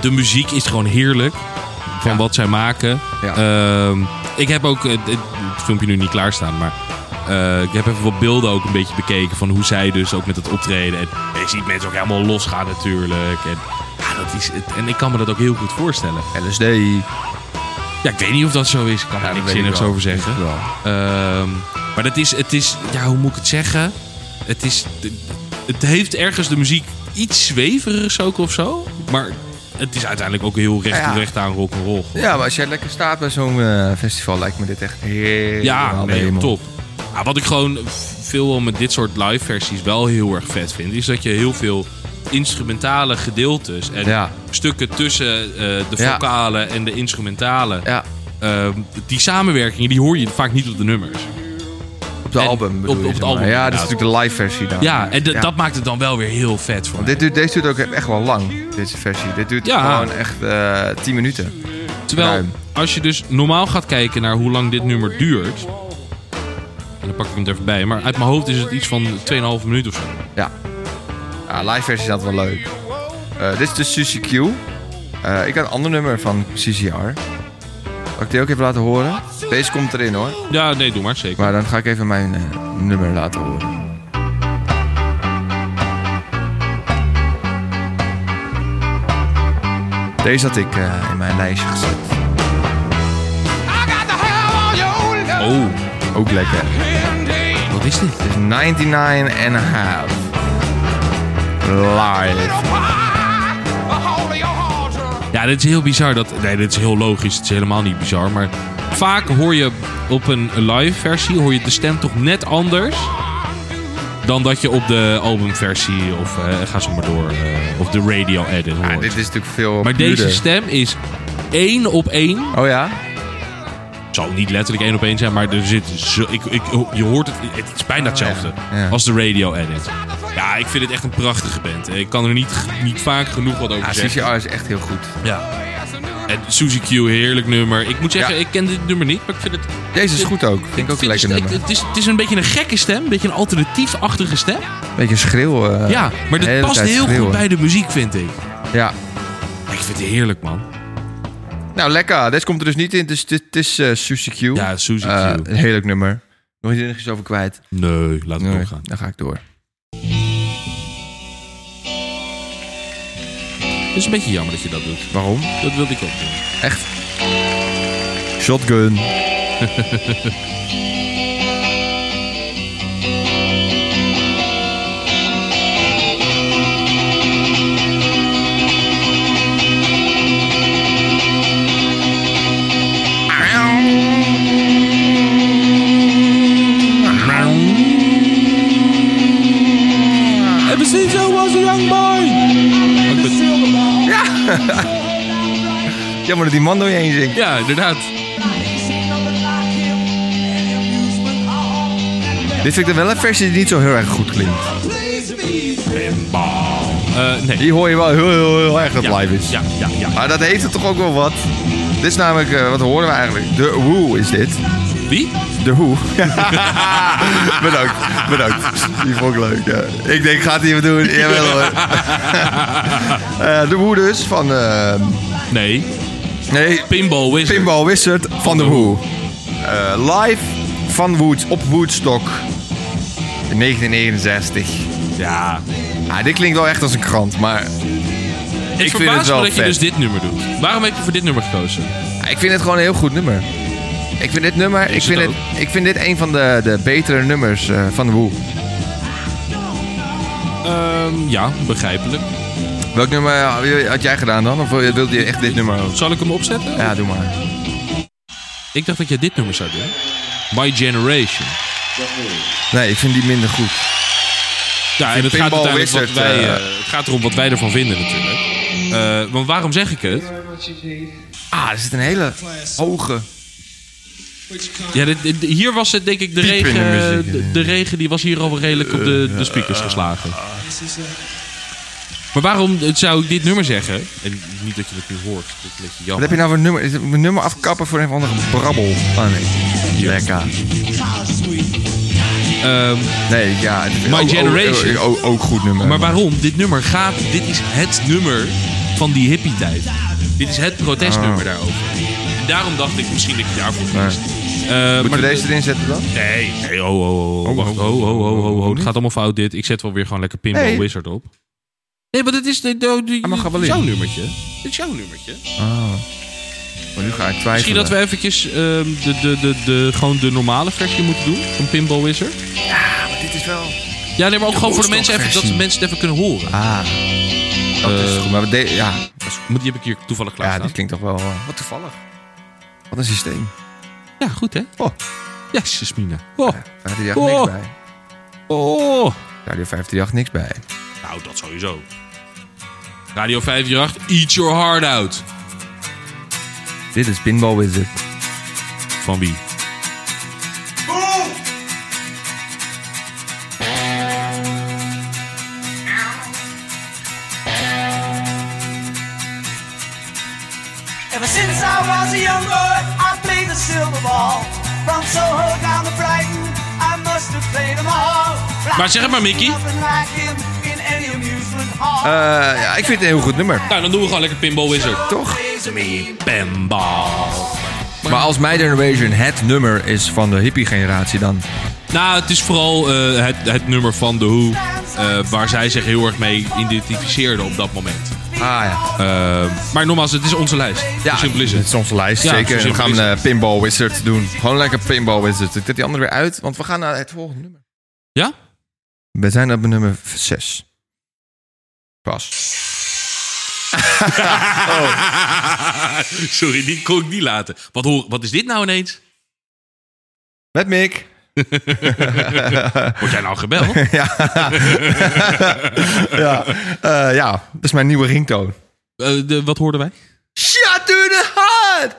Speaker 1: de muziek is gewoon heerlijk. Van
Speaker 2: Ja.
Speaker 1: wat zij maken.
Speaker 2: Ja.
Speaker 1: Ehm, ik heb ook... eh, Het, het filmpje nu niet klaarstaan, maar... eh, ik heb even wat beelden ook een beetje bekeken van hoe zij dus ook met het optreden. En je ziet mensen ook helemaal losgaan natuurlijk. En, ja, dat is, het- en ik kan me dat ook heel goed voorstellen.
Speaker 2: LSD.
Speaker 1: Ja, ik weet niet of dat zo is. Ik kan
Speaker 2: Ja,
Speaker 1: daar
Speaker 2: dat
Speaker 1: niks
Speaker 2: weet ik
Speaker 1: zinnigs
Speaker 2: wel.
Speaker 1: over zeggen.
Speaker 2: Weet ik wel.
Speaker 1: Ehm, maar dat is, het is, ja, hoe moet ik het zeggen? Het is, het heeft ergens de muziek iets zweverigs ook of zo. Maar het is uiteindelijk ook heel recht
Speaker 2: Ja.
Speaker 1: toe recht aan rock'n'roll. gewoon.
Speaker 2: Ja, maar als jij lekker staat bij zo'n eh, festival, lijkt me dit echt heel
Speaker 1: Ja, nee, top. Ja, wat ik gewoon veel met dit soort live versies wel heel erg vet vind, is dat je heel veel instrumentale gedeeltes en
Speaker 2: Ja.
Speaker 1: stukken tussen eh, de
Speaker 2: Ja.
Speaker 1: vocalen en de instrumentalen.
Speaker 2: Ja,
Speaker 1: Ehm, die samenwerkingen die hoor je vaak niet op de nummers.
Speaker 2: op de
Speaker 1: En
Speaker 2: album bedoel
Speaker 1: op-
Speaker 2: je,
Speaker 1: op het
Speaker 2: zeg maar.
Speaker 1: album,
Speaker 2: Ja, dat is
Speaker 1: inderdaad.
Speaker 2: natuurlijk de live versie dan.
Speaker 1: Ja, en d-
Speaker 2: Ja.
Speaker 1: dat maakt het dan wel weer heel vet voor mij.
Speaker 2: Dit duurt, deze duurt ook echt wel lang, deze versie. Dit duurt
Speaker 1: Ja.
Speaker 2: gewoon echt eh 10 minuten.
Speaker 1: Terwijl,
Speaker 2: Ruim.
Speaker 1: als je dus normaal gaat kijken naar hoe lang dit nummer duurt. En dan pak ik hem er even bij. Maar uit mijn hoofd is het iets van 2,5 minuut of zo.
Speaker 2: Ja. ja live versie is altijd wel leuk. Eh, dit is de Suzy Q. Eh, ik had een ander nummer van CCR. Zal ik die ook even laten horen? Deze komt erin hoor.
Speaker 1: Ja, nee, doe maar zeker.
Speaker 2: Maar dan ga ik even mijn eh, nummer laten horen. Deze had ik eh, in mijn lijstje gezet.
Speaker 1: Oh,
Speaker 2: Ook lekker.
Speaker 1: wat is dit?
Speaker 2: Het is 99 and a half. Live.
Speaker 1: Ja, dit is heel bizar. Dat, nee, dit is heel logisch. Het is helemaal niet bizar. Maar vaak hoor je op een live versie hoor je de stem toch net anders. Dan dat je op de albumversie of eh, ga zo maar door. eh, of de radio edit hoort.
Speaker 2: Ja, dit is natuurlijk veel
Speaker 1: maar deze
Speaker 2: puurder.
Speaker 1: stem is één op één
Speaker 2: Oh ja?
Speaker 1: Het zal niet letterlijk één op één zijn, maar er zit zo, ik, ik, je hoort het, het is bijna hetzelfde
Speaker 2: Oh ja. Ja.
Speaker 1: als de radio edit. Ja, ik vind het echt een prachtige band. Ik kan er niet, niet vaak genoeg wat over
Speaker 2: Ja,
Speaker 1: zeggen.
Speaker 2: CCR oh, is echt heel goed.
Speaker 1: Ja. En Suzy Q, heerlijk nummer. Ik moet zeggen,
Speaker 2: Ja.
Speaker 1: ik ken dit nummer niet, maar ik vind het...
Speaker 2: Deze is goed ook. Vind ik ook een
Speaker 1: vind
Speaker 2: lekker
Speaker 1: het,
Speaker 2: nummer.
Speaker 1: ik- het, is, het is een beetje een gekke stem, een beetje een alternatief-achtige stem.
Speaker 2: Beetje schreeuw. eh,
Speaker 1: Ja, maar
Speaker 2: de
Speaker 1: dit
Speaker 2: hele
Speaker 1: past
Speaker 2: tijd
Speaker 1: heel goed
Speaker 2: schreeuwen.
Speaker 1: bij de muziek, vind ik.
Speaker 2: Ja.
Speaker 1: Ik vind het heerlijk, man.
Speaker 2: Nou, lekker. Deze komt er dus niet in. Het is, het is eh, Suzy Q.
Speaker 1: Ja, Suzy Q.
Speaker 2: Eh, een heerlijk nummer. Nog iets ergens over kwijt.
Speaker 1: Nee, laat het
Speaker 2: Nee,
Speaker 1: doorgaan.
Speaker 2: dan ga ik door.
Speaker 1: Het is een beetje jammer dat je dat doet.
Speaker 2: Waarom?
Speaker 1: Dat wilde ik ook doen.
Speaker 2: Echt. Shotgun.
Speaker 1: En precies zo was een young boy. Ik ben-
Speaker 2: Jammer dat die man door je heen zingt.
Speaker 1: Ja, inderdaad.
Speaker 2: Dit vind ik dan wel een versie die niet zo heel erg goed klinkt.
Speaker 1: Eh, nee.
Speaker 2: Die hoor je wel heel, heel, heel erg dat
Speaker 1: Ja,
Speaker 2: live is.
Speaker 1: Ja, ja, ja.
Speaker 2: Maar dat heeft het toch ook wel wat. Dit is namelijk, eh, wat horen we eigenlijk? De Woo is dit.
Speaker 1: Dit Wie?
Speaker 2: De hoe. bedankt, bedankt. Die vond ik leuk. ja. Ik denk, gaat hij wat doen? Jawel hoor. Eh, de hoe dus van... eh,
Speaker 1: Nee.
Speaker 2: nee,
Speaker 1: Pinball Wizard.
Speaker 2: Pinball Wizard van de hoe. Eh, live van Woods op Woodstock. In 1969.
Speaker 1: Ja.
Speaker 2: Ah, dit klinkt wel echt als een krant, maar...
Speaker 1: Ik,
Speaker 2: vind
Speaker 1: verbaas
Speaker 2: het wel
Speaker 1: me dat
Speaker 2: vet.
Speaker 1: je dus dit nummer doet. Waarom heb je voor dit nummer gekozen?
Speaker 2: Ik vind het gewoon een heel goed nummer. Ik vind dit nummer, ik
Speaker 1: het
Speaker 2: vind, het, ik vind dit een van de, de betere nummers eh, van de Who.
Speaker 1: Ehm, ja, begrijpelijk.
Speaker 2: Welk nummer had jij gedaan dan? Of wilde je echt dit nummer? ook?
Speaker 1: Zal ik hem opzetten?
Speaker 2: Ja, doe maar.
Speaker 1: Ik dacht dat je dit nummer zou doen. My Generation.
Speaker 2: Nee, ik vind die minder goed.
Speaker 1: Ja, en
Speaker 2: vind
Speaker 1: het gaat,
Speaker 2: Pinball
Speaker 1: uiteindelijk wat
Speaker 2: Wizard,
Speaker 1: wij,
Speaker 2: eh,
Speaker 1: eh, het gaat erom wat wij ervan vinden natuurlijk. Eh, want waarom zeg ik het?
Speaker 2: Ah, er zit een hele hoge...
Speaker 1: Ja, dit- dit- hier was het denk ik de
Speaker 2: Piep in de
Speaker 1: regen. eh,
Speaker 2: muziek,
Speaker 1: de, de regen die was hier al wel redelijk op de, de speakers geslagen. Maar waarom eh, zou ik dit nummer zeggen? En niet dat je het nu hoort. Dat is een beetje
Speaker 2: Wat
Speaker 1: jammer.
Speaker 2: heb je nou voor nummer? Is het een nummer afkappen voor een of andere brabbel? Oh nee. Lekker.
Speaker 1: Ehm,
Speaker 2: Nee, ja. het-
Speaker 1: My
Speaker 2: ook- ook-
Speaker 1: Generation.
Speaker 2: Ook, ook goed nummer.
Speaker 1: maar waarom? Dit nummer gaat. Dit is het nummer van die hippie-tijd. Dit is het protestnummer
Speaker 2: Ah.
Speaker 1: daarover. En daarom dacht ik misschien dat je daarvoor kiest. Eh, maar
Speaker 2: Moeten we deze erin zetten dan?
Speaker 1: Nee, Oh, nee, ho, ho, ho, wacht, ho, ho, ho, ho, ho. Het gaat allemaal fout dit. Ik zet wel weer gewoon lekker Pinball
Speaker 2: Nee.
Speaker 1: Wizard op. Nee, maar dit is de, de, de,
Speaker 2: Hij mag er wel in.
Speaker 1: jouw nummertje. Dit is jouw nummertje.
Speaker 2: Oh. Maar Oh, nu ga ik twijfelen.
Speaker 1: Misschien dat we eventjes ehm, de, de, de, de, gewoon de normale versie moeten doen van Pinball Wizard.
Speaker 2: Maar dit is wel...
Speaker 1: Ja, nee, maar ook gewoon voor de mensen even, dat de
Speaker 2: Woodstock-versie.
Speaker 1: mensen het even kunnen horen.
Speaker 2: Ah. Dat is
Speaker 1: Eh,
Speaker 2: goed. Maar de, ja, dat is goed.
Speaker 1: Moet- Die heb ik hier toevallig
Speaker 2: ja,
Speaker 1: klaarstaan.
Speaker 2: dit klinkt toch wel... eh, wat toevallig. Wat een systeem.
Speaker 1: Ja, goed hè?
Speaker 2: Oh.
Speaker 1: Jezus, Mina. Oh.
Speaker 2: Daar had hij niks
Speaker 1: Oh.
Speaker 2: bij.
Speaker 1: oh.
Speaker 2: Radio 538 niks bij.
Speaker 1: Nou, dat sowieso. Radio 538, Eat Your Heart Out.
Speaker 2: Dit is Pinball Wizard.
Speaker 1: Van wie?
Speaker 5: Ever since I was a young boy, I played the silver ball. From Soho down to Brighton, I must have played them all.
Speaker 1: Maar zeg het maar, Mickey.
Speaker 5: Nothing like him in any amusement hall.
Speaker 2: Eh, ja, ik vind het een heel goed nummer.
Speaker 1: Nou, dan doen we gewoon lekker Pinball Wizard.
Speaker 2: Toch?
Speaker 1: Pinball.
Speaker 2: Maar als My Generation het nummer is van de hippie-generatie dan...
Speaker 1: Nou, het is vooral eh, het, het nummer van The Who. eh, waar zij zich heel erg mee identificeerden op dat moment.
Speaker 2: Ah ja.
Speaker 1: Eh, maar nogmaals, het is onze lijst. Ja,
Speaker 2: Ja,
Speaker 1: Hoe simpel is
Speaker 2: Het is
Speaker 1: het?
Speaker 2: onze lijst,
Speaker 1: Ja,
Speaker 2: zeker.
Speaker 1: zo
Speaker 2: En we gaan
Speaker 1: simpel is
Speaker 2: eh, Pinball Wizard doen. Gewoon lekker Pinball Wizard. Ik zet die andere weer uit, want we gaan naar het volgende nummer.
Speaker 1: Ja?
Speaker 2: We zijn op nummer 6. Pas.
Speaker 1: Sorry, die kon ik niet laten. Wat, hoor, wat is dit nou ineens?
Speaker 2: Met Mick.
Speaker 1: Word jij nou gebeld?
Speaker 2: Ja, Eh, ja. dat is mijn nieuwe ringtoon.
Speaker 1: Eh, de- wat hoorden wij?
Speaker 2: Shut to the heart!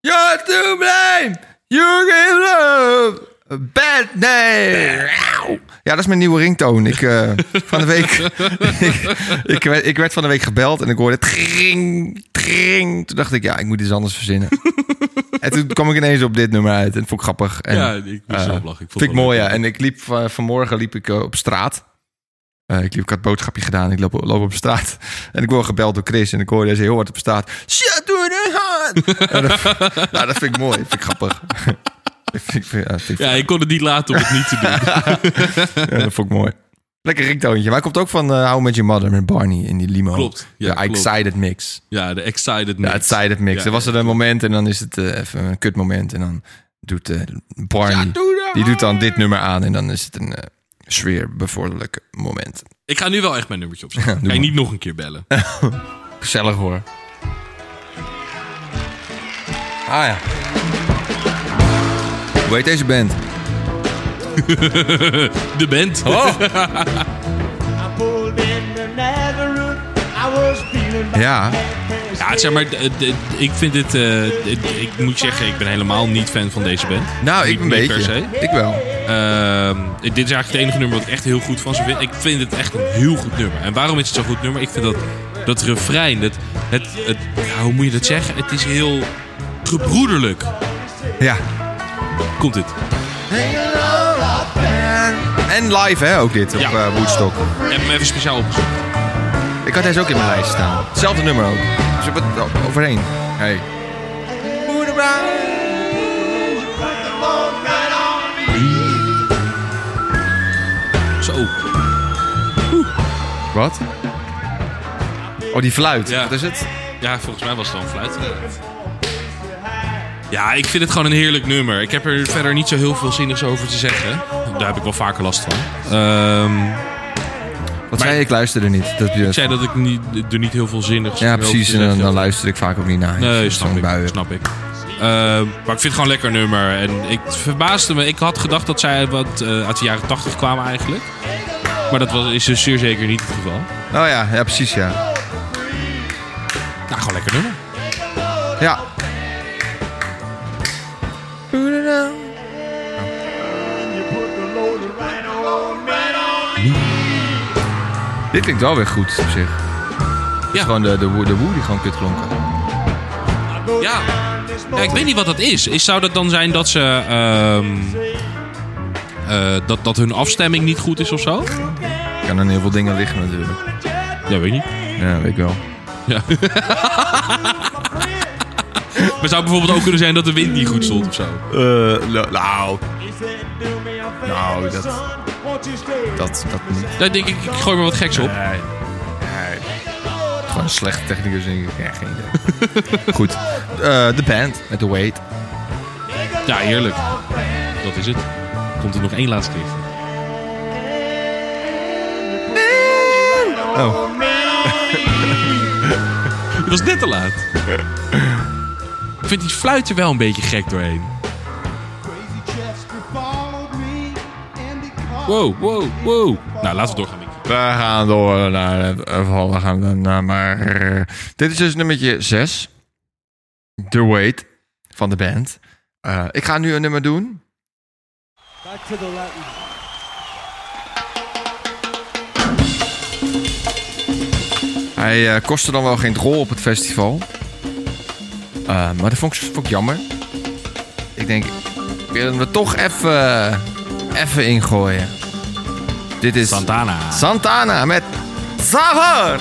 Speaker 2: You're to blame! You give love! a Bad name! Ja, dat is mijn nieuwe ringtoon. Ik, eh, van de week, ik, ik, werd, ik werd van de week gebeld en ik hoorde tring, tring. Toen dacht ik, ja, ik moet iets anders verzinnen. en toen kwam ik ineens op dit nummer uit en dat vond ik grappig. En,
Speaker 1: Ja, ik moest
Speaker 2: eh,
Speaker 1: erop lachen. Ik vond het
Speaker 2: Vind ik
Speaker 1: wel
Speaker 2: mooi,
Speaker 1: leuk.
Speaker 2: ja. En ik liep van- vanmorgen liep ik eh, op straat. Eh, ik, liep, ik had een boodschapje gedaan. Ik loop, loop op straat. En ik word gebeld door Chris. En ik hoor deze heel hard op straat. Shut to the hand! En dat, nou, dat vind ik mooi. Dat vind ik grappig. Ik vind- ik vind- ja, dat vind ik-
Speaker 1: Ja, ik kon het niet laten om het niet te doen.
Speaker 2: ja, dat vond ik mooi. Lekker ringtoontje. Maar hij komt ook van eh, How Met Your Mother met Barney in die limo.
Speaker 1: Klopt. Ja,
Speaker 2: De
Speaker 1: klopt.
Speaker 2: Excited Mix.
Speaker 1: Ja, de excited
Speaker 2: Ja,
Speaker 1: mix.
Speaker 2: Excited Mix.
Speaker 1: Ja,
Speaker 2: dan was er een moment en dan is het eh, even een kut moment. En dan doet eh, Barney... die doet dan dit nummer aan. En dan is het een eh, sfeerbevorderlijk moment.
Speaker 1: Ik ga nu wel echt mijn nummertje opzetten.
Speaker 2: doe
Speaker 1: Kan je
Speaker 2: maar.
Speaker 1: niet nog een keer bellen?
Speaker 2: Gezellig hoor. Ah ja. Hoe heet deze band?
Speaker 1: De band.
Speaker 2: Oh.
Speaker 5: I pulled in another route. I was feeling bad.
Speaker 2: Ja.
Speaker 1: Ja, zeg maar, d- d- ik vind dit... eh, d- ik moet zeggen, ik ben helemaal niet fan van deze band.
Speaker 2: Nou,
Speaker 1: Niet-
Speaker 2: ik een
Speaker 1: niet
Speaker 2: beetje.
Speaker 1: Per se.
Speaker 2: Ik wel.
Speaker 1: Ehm, dit is eigenlijk het enige nummer wat ik echt heel goed van ze vind. Ik vind het echt een heel goed nummer. En waarom is het zo'n goed nummer? Ik vind dat, dat refrein, het, het, het, ja, hoe moet je dat zeggen? Het is heel gebroederlijk.
Speaker 2: Ja.
Speaker 1: Komt dit.
Speaker 2: En live, hè, ook dit, op
Speaker 1: Ja.
Speaker 2: eh, Woodstock.
Speaker 1: Ik heb hem even speciaal opgezocht.
Speaker 2: Ik had deze ook in mijn lijst staan. Hetzelfde nummer ook. Ze hebben het o- overheen. Hey.
Speaker 1: Zo.
Speaker 2: Wat? Oh, die fluit.
Speaker 1: Ja.
Speaker 2: Wat is het?
Speaker 1: Ja, volgens mij was het dan fluit. Ja, ik vind het gewoon een heerlijk nummer. Ik heb er verder niet zo heel veel zinnigs over te zeggen. Daar heb ik wel vaker last van. Ehm,
Speaker 2: Wat zei je? Ik luisterde niet. Dat,
Speaker 1: ik zei dat ik niet, er niet heel veel zinnigs
Speaker 2: ja,
Speaker 1: over te
Speaker 2: precies. En
Speaker 1: zeggen
Speaker 2: dan, dan
Speaker 1: heb.
Speaker 2: luister ik vaak ook niet naar.
Speaker 1: Nee,
Speaker 2: Zo'n
Speaker 1: snap ik.
Speaker 2: buien.
Speaker 1: Snap ik. Ehm, maar ik vind het gewoon een lekker nummer. En ik het verbaasde me. Ik had gedacht dat zij wat, eh, uit de jaren 80 kwamen eigenlijk. Maar dat was, is dus zeer zeker niet het geval.
Speaker 2: Oh ja, ja, precies, ja.
Speaker 1: Nou, gewoon lekker nummer.
Speaker 2: Ja. Dit klinkt wel weer goed op zich.
Speaker 1: Ja.
Speaker 2: Gewoon de, de, woe- de woe die gewoon kut klonken.
Speaker 1: Ja. ja, ik weet niet wat dat is. Is- Zou dat dan zijn dat ze. ehm, eh, dat, dat hun afstemming niet goed is of zo?
Speaker 2: Kan aan heel veel dingen liggen natuurlijk.
Speaker 1: Ja, weet ik niet.
Speaker 2: Ja, weet ik wel.
Speaker 1: Ja. maar zou bijvoorbeeld ook kunnen zijn dat de wind niet goed stond of zo?
Speaker 2: nou. Nou, dat. Dat, dat niet.
Speaker 1: Daar denk ik, ik gooi maar wat geks op.
Speaker 2: Nee. Nee. Gewoon een slechte technicus. en ik- Ja, geen idee. Goed. Eh, De band met The Weight.
Speaker 1: Ja, heerlijk. Dat is het. Komt er nog één laatste keer.
Speaker 2: Oh.
Speaker 1: Het was net te laat. Ik vind die fluit er wel een beetje gek doorheen. Wow, wow, wow. Nou, laten we doorgaan, Mickey.
Speaker 2: We gaan door naar het verhaal. We gaan dan naar maar. Dit is dus nummertje 6. The Weight van de band. Eh, ik ga nu een nummer doen. Hij eh, kostte dan wel geen drol op het festival. Eh, maar dat vond ik, vond ik jammer. Ik denk, ik wil hem er toch even eh, even ingooien. Dit is
Speaker 1: Santana.
Speaker 2: Santana met Savor.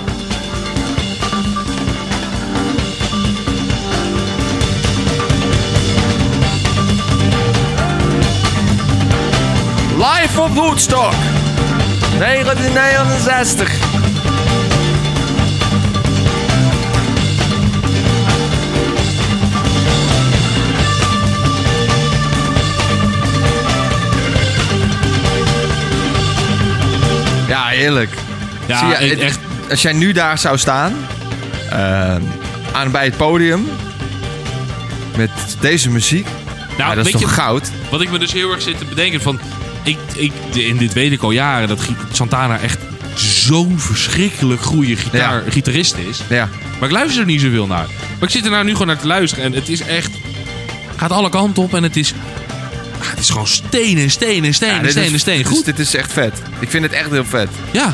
Speaker 2: Live op Woodstock 1969. Ja, eerlijk.
Speaker 1: Ja,
Speaker 2: Zie je,
Speaker 1: ik-
Speaker 2: het-
Speaker 1: echt.
Speaker 2: Als jij nu daar zou staan, ehm, aan, bij het podium, met deze muziek, ja,
Speaker 1: Nou,
Speaker 2: dat is
Speaker 1: weet
Speaker 2: toch
Speaker 1: je,
Speaker 2: goud?
Speaker 1: wat ik me dus heel erg zit te bedenken van... Ik, ik, en dit weet ik al jaren, dat Gi- Santana echt zo'n verschrikkelijk goede gitaar,
Speaker 2: Ja.
Speaker 1: gitarist is.
Speaker 2: Ja.
Speaker 1: Maar ik luister er niet zoveel naar. Maar ik zit er nou nu gewoon naar te luisteren. En het is echt... Gaat alle kanten op en het is... ah, Het is gewoon stenen, stenen,
Speaker 2: Ja,
Speaker 1: stenen,
Speaker 2: dit
Speaker 1: stenen,
Speaker 2: is,
Speaker 1: stenen.
Speaker 2: dit is-
Speaker 1: Goed.
Speaker 2: dit is echt vet. Ik vind het echt heel vet.
Speaker 1: Ja.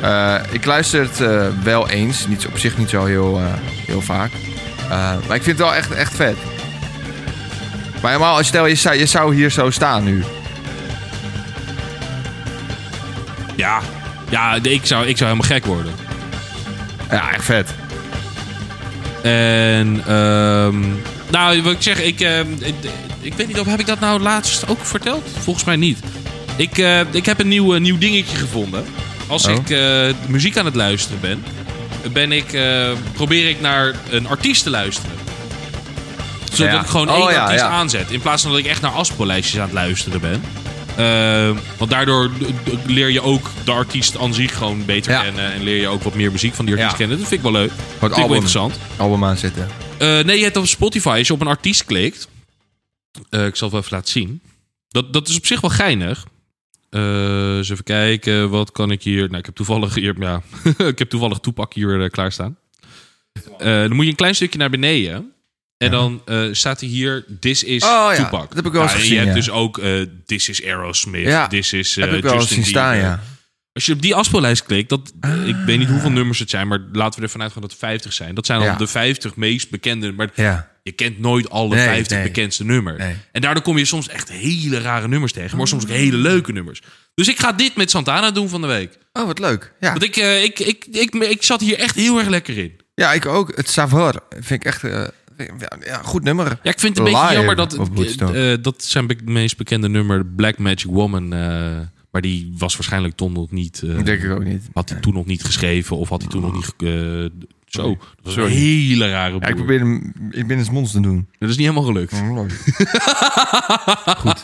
Speaker 2: Eh, ik luister het eh, wel eens. Niet, op zich niet zo heel, eh, heel vaak. Eh, maar ik vind het wel echt, echt vet. Maar helemaal, als stel je zou, je zou hier zo staan nu.
Speaker 1: Ja. Ja, ik zou, ik zou helemaal gek worden.
Speaker 2: Ja, echt vet.
Speaker 1: En, ehm nou, wat ik zeg, ik, ehm, ik, ik weet niet of heb ik dat nou laatst ook verteld? Volgens mij niet. Ik, eh, ik heb een nieuw, eh, nieuw dingetje gevonden. Als
Speaker 2: Oh.
Speaker 1: ik eh, muziek aan het luisteren ben, ben ik, eh, probeer ik naar een artiest te luisteren. Zodat
Speaker 2: Ja.
Speaker 1: ik gewoon
Speaker 2: Oh,
Speaker 1: één
Speaker 2: ja,
Speaker 1: artiest
Speaker 2: ja.
Speaker 1: aanzet. In plaats van dat ik echt naar afspeellijstjes aan het luisteren ben. Ehm, want daardoor d- d- leer je ook de artiest aan zich gewoon beter
Speaker 2: Ja.
Speaker 1: kennen. En leer je ook wat meer muziek van die artiest
Speaker 2: Ja.
Speaker 1: kennen. Dat vind ik wel leuk.
Speaker 2: Wat
Speaker 1: vind ik wel interessant.
Speaker 2: Album aanzetten.
Speaker 1: Eh, nee, je hebt op Spotify, als je op een artiest klikt. Eh, ik zal het wel even laten zien. Dat, dat is op zich wel geinig. Eh, eens even kijken, wat kan ik hier. Nou, ik heb toevallig hier. Ja, ik heb toevallig toepak hier klaar klaarstaan. Eh, dan moet je een klein stukje naar beneden. En dan eh, staat hij hier: This is
Speaker 2: Oh ja,
Speaker 1: Tupac.
Speaker 2: dat heb ik wel eens
Speaker 1: en
Speaker 2: gezien,
Speaker 1: Je hebt
Speaker 2: ja.
Speaker 1: dus ook eh, This is Aerosmith.
Speaker 2: Ja,
Speaker 1: This is eh,
Speaker 2: Heb ik wel eens
Speaker 1: Justin
Speaker 2: zien staan,
Speaker 1: Bieber.
Speaker 2: ja.
Speaker 1: Als je op die afspeellijst klikt, dat,
Speaker 2: Ah.
Speaker 1: ik weet niet hoeveel nummers het zijn, maar laten we ervan uitgaan dat het 50 zijn. Dat zijn dan
Speaker 2: Ja.
Speaker 1: de 50 meest bekende. Maar
Speaker 2: Ja.
Speaker 1: Je kent nooit alle
Speaker 2: Nee,
Speaker 1: 50
Speaker 2: nee.
Speaker 1: bekendste nummers.
Speaker 2: Nee. Oh.
Speaker 1: En daardoor kom je soms echt hele rare nummers tegen. Maar soms ook hele leuke nummers. Dus ik ga dit met Santana doen van de week.
Speaker 2: Oh, wat leuk. Ja,
Speaker 1: Want ik, eh, ik, ik, ik, ik, zat hier echt heel erg lekker in.
Speaker 2: ja ik ook. Het Savoir vind ik echt... eh, vind ik- ja, goed nummer.
Speaker 1: Ja, ik vind het een
Speaker 2: Live
Speaker 1: beetje jammer dat...
Speaker 2: op Woodstock.
Speaker 1: eh, dat zijn be- meest bekende nummer, Black Magic Woman. eh, maar die was waarschijnlijk Tom nog niet... eh,
Speaker 2: Dat denk ik ook niet.
Speaker 1: had hij toen nog niet geschreven of had hij toen nog niet... ge- eh, zo, dat was een
Speaker 2: Sorry.
Speaker 1: hele rare
Speaker 2: Ja, ik
Speaker 1: boer.
Speaker 2: probeer Mm. hem in binnensmonds te doen.
Speaker 1: Dat is niet helemaal gelukt.
Speaker 2: Goed.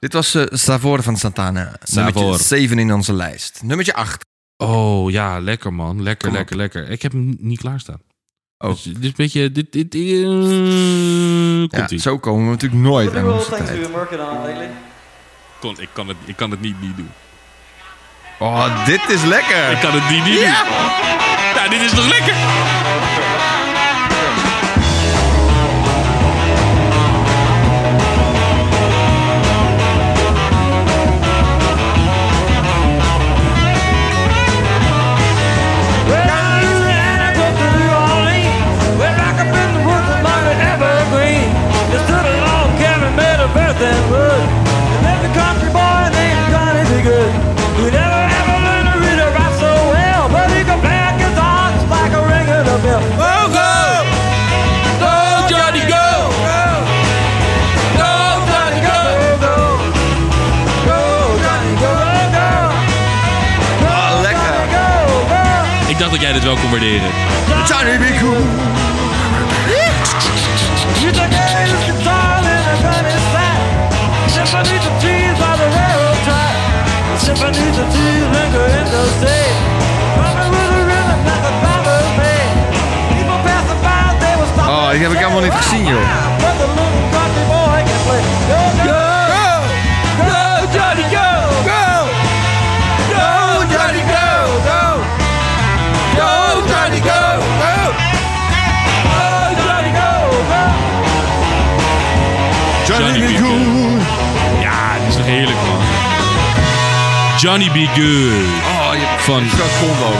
Speaker 2: Dit was eh, Savor van Santana.
Speaker 1: Savor.
Speaker 2: Nummertje 7 in onze lijst. Nummertje 8.
Speaker 1: Oh ja, lekker man. Lekker,
Speaker 2: Kom op.
Speaker 1: lekker, lekker. Ik heb hem niet klaarstaan.
Speaker 2: Oh.
Speaker 1: Dus dit is een beetje... Dit, dit, eh, komt
Speaker 2: Ja,
Speaker 1: ie.
Speaker 2: zo komen we natuurlijk nooit aan onze
Speaker 5: things we've
Speaker 2: tijd.
Speaker 5: been working on lately.
Speaker 1: Kon- ik, kan het, ik kan het niet niet doen.
Speaker 2: Oh, dit is
Speaker 1: Ik
Speaker 2: lekker.
Speaker 1: kan het niet niet doen. Nou, dit is toch lekker?
Speaker 5: Well, I ran, I go to New Orleans. Well, I could bring the woods along the evergreen. Just stood a log cabin made of earth and wood. And every country boy named Johnny B. Good. Who never ever learned to read or write so well. But he could play a guitar just like a ringing a bell. Oh, go! Go, Johnny, go! Go, Johnny, go! Go, go, Johnny, go, go! Go,
Speaker 2: lekker.
Speaker 5: Johnny, go, go!
Speaker 1: Ik dacht dat jij dit wel kon waarderen.
Speaker 2: Johnny be cool.
Speaker 5: You took A's guitar in a granny sack. Sip beneath the trees by the railroad track. Sip beneath the trees linger in the day. Pumping with a rhythm like a driver's mate. People passing by, they were stopping
Speaker 2: Oh, die heb ik
Speaker 5: to
Speaker 2: helemaal
Speaker 5: say,
Speaker 2: niet gezien, joh.
Speaker 5: "Wow, what a little country boy can play." Go, go, go, Johnny, go. Go, Johnny, go. Go, Johnny, go. Go, Johnny, go, go.
Speaker 1: Johnny be Ja, dit is toch heerlijk man. Johnny B. Good.
Speaker 2: Oh, je hebt
Speaker 1: Van-
Speaker 2: een groot combo.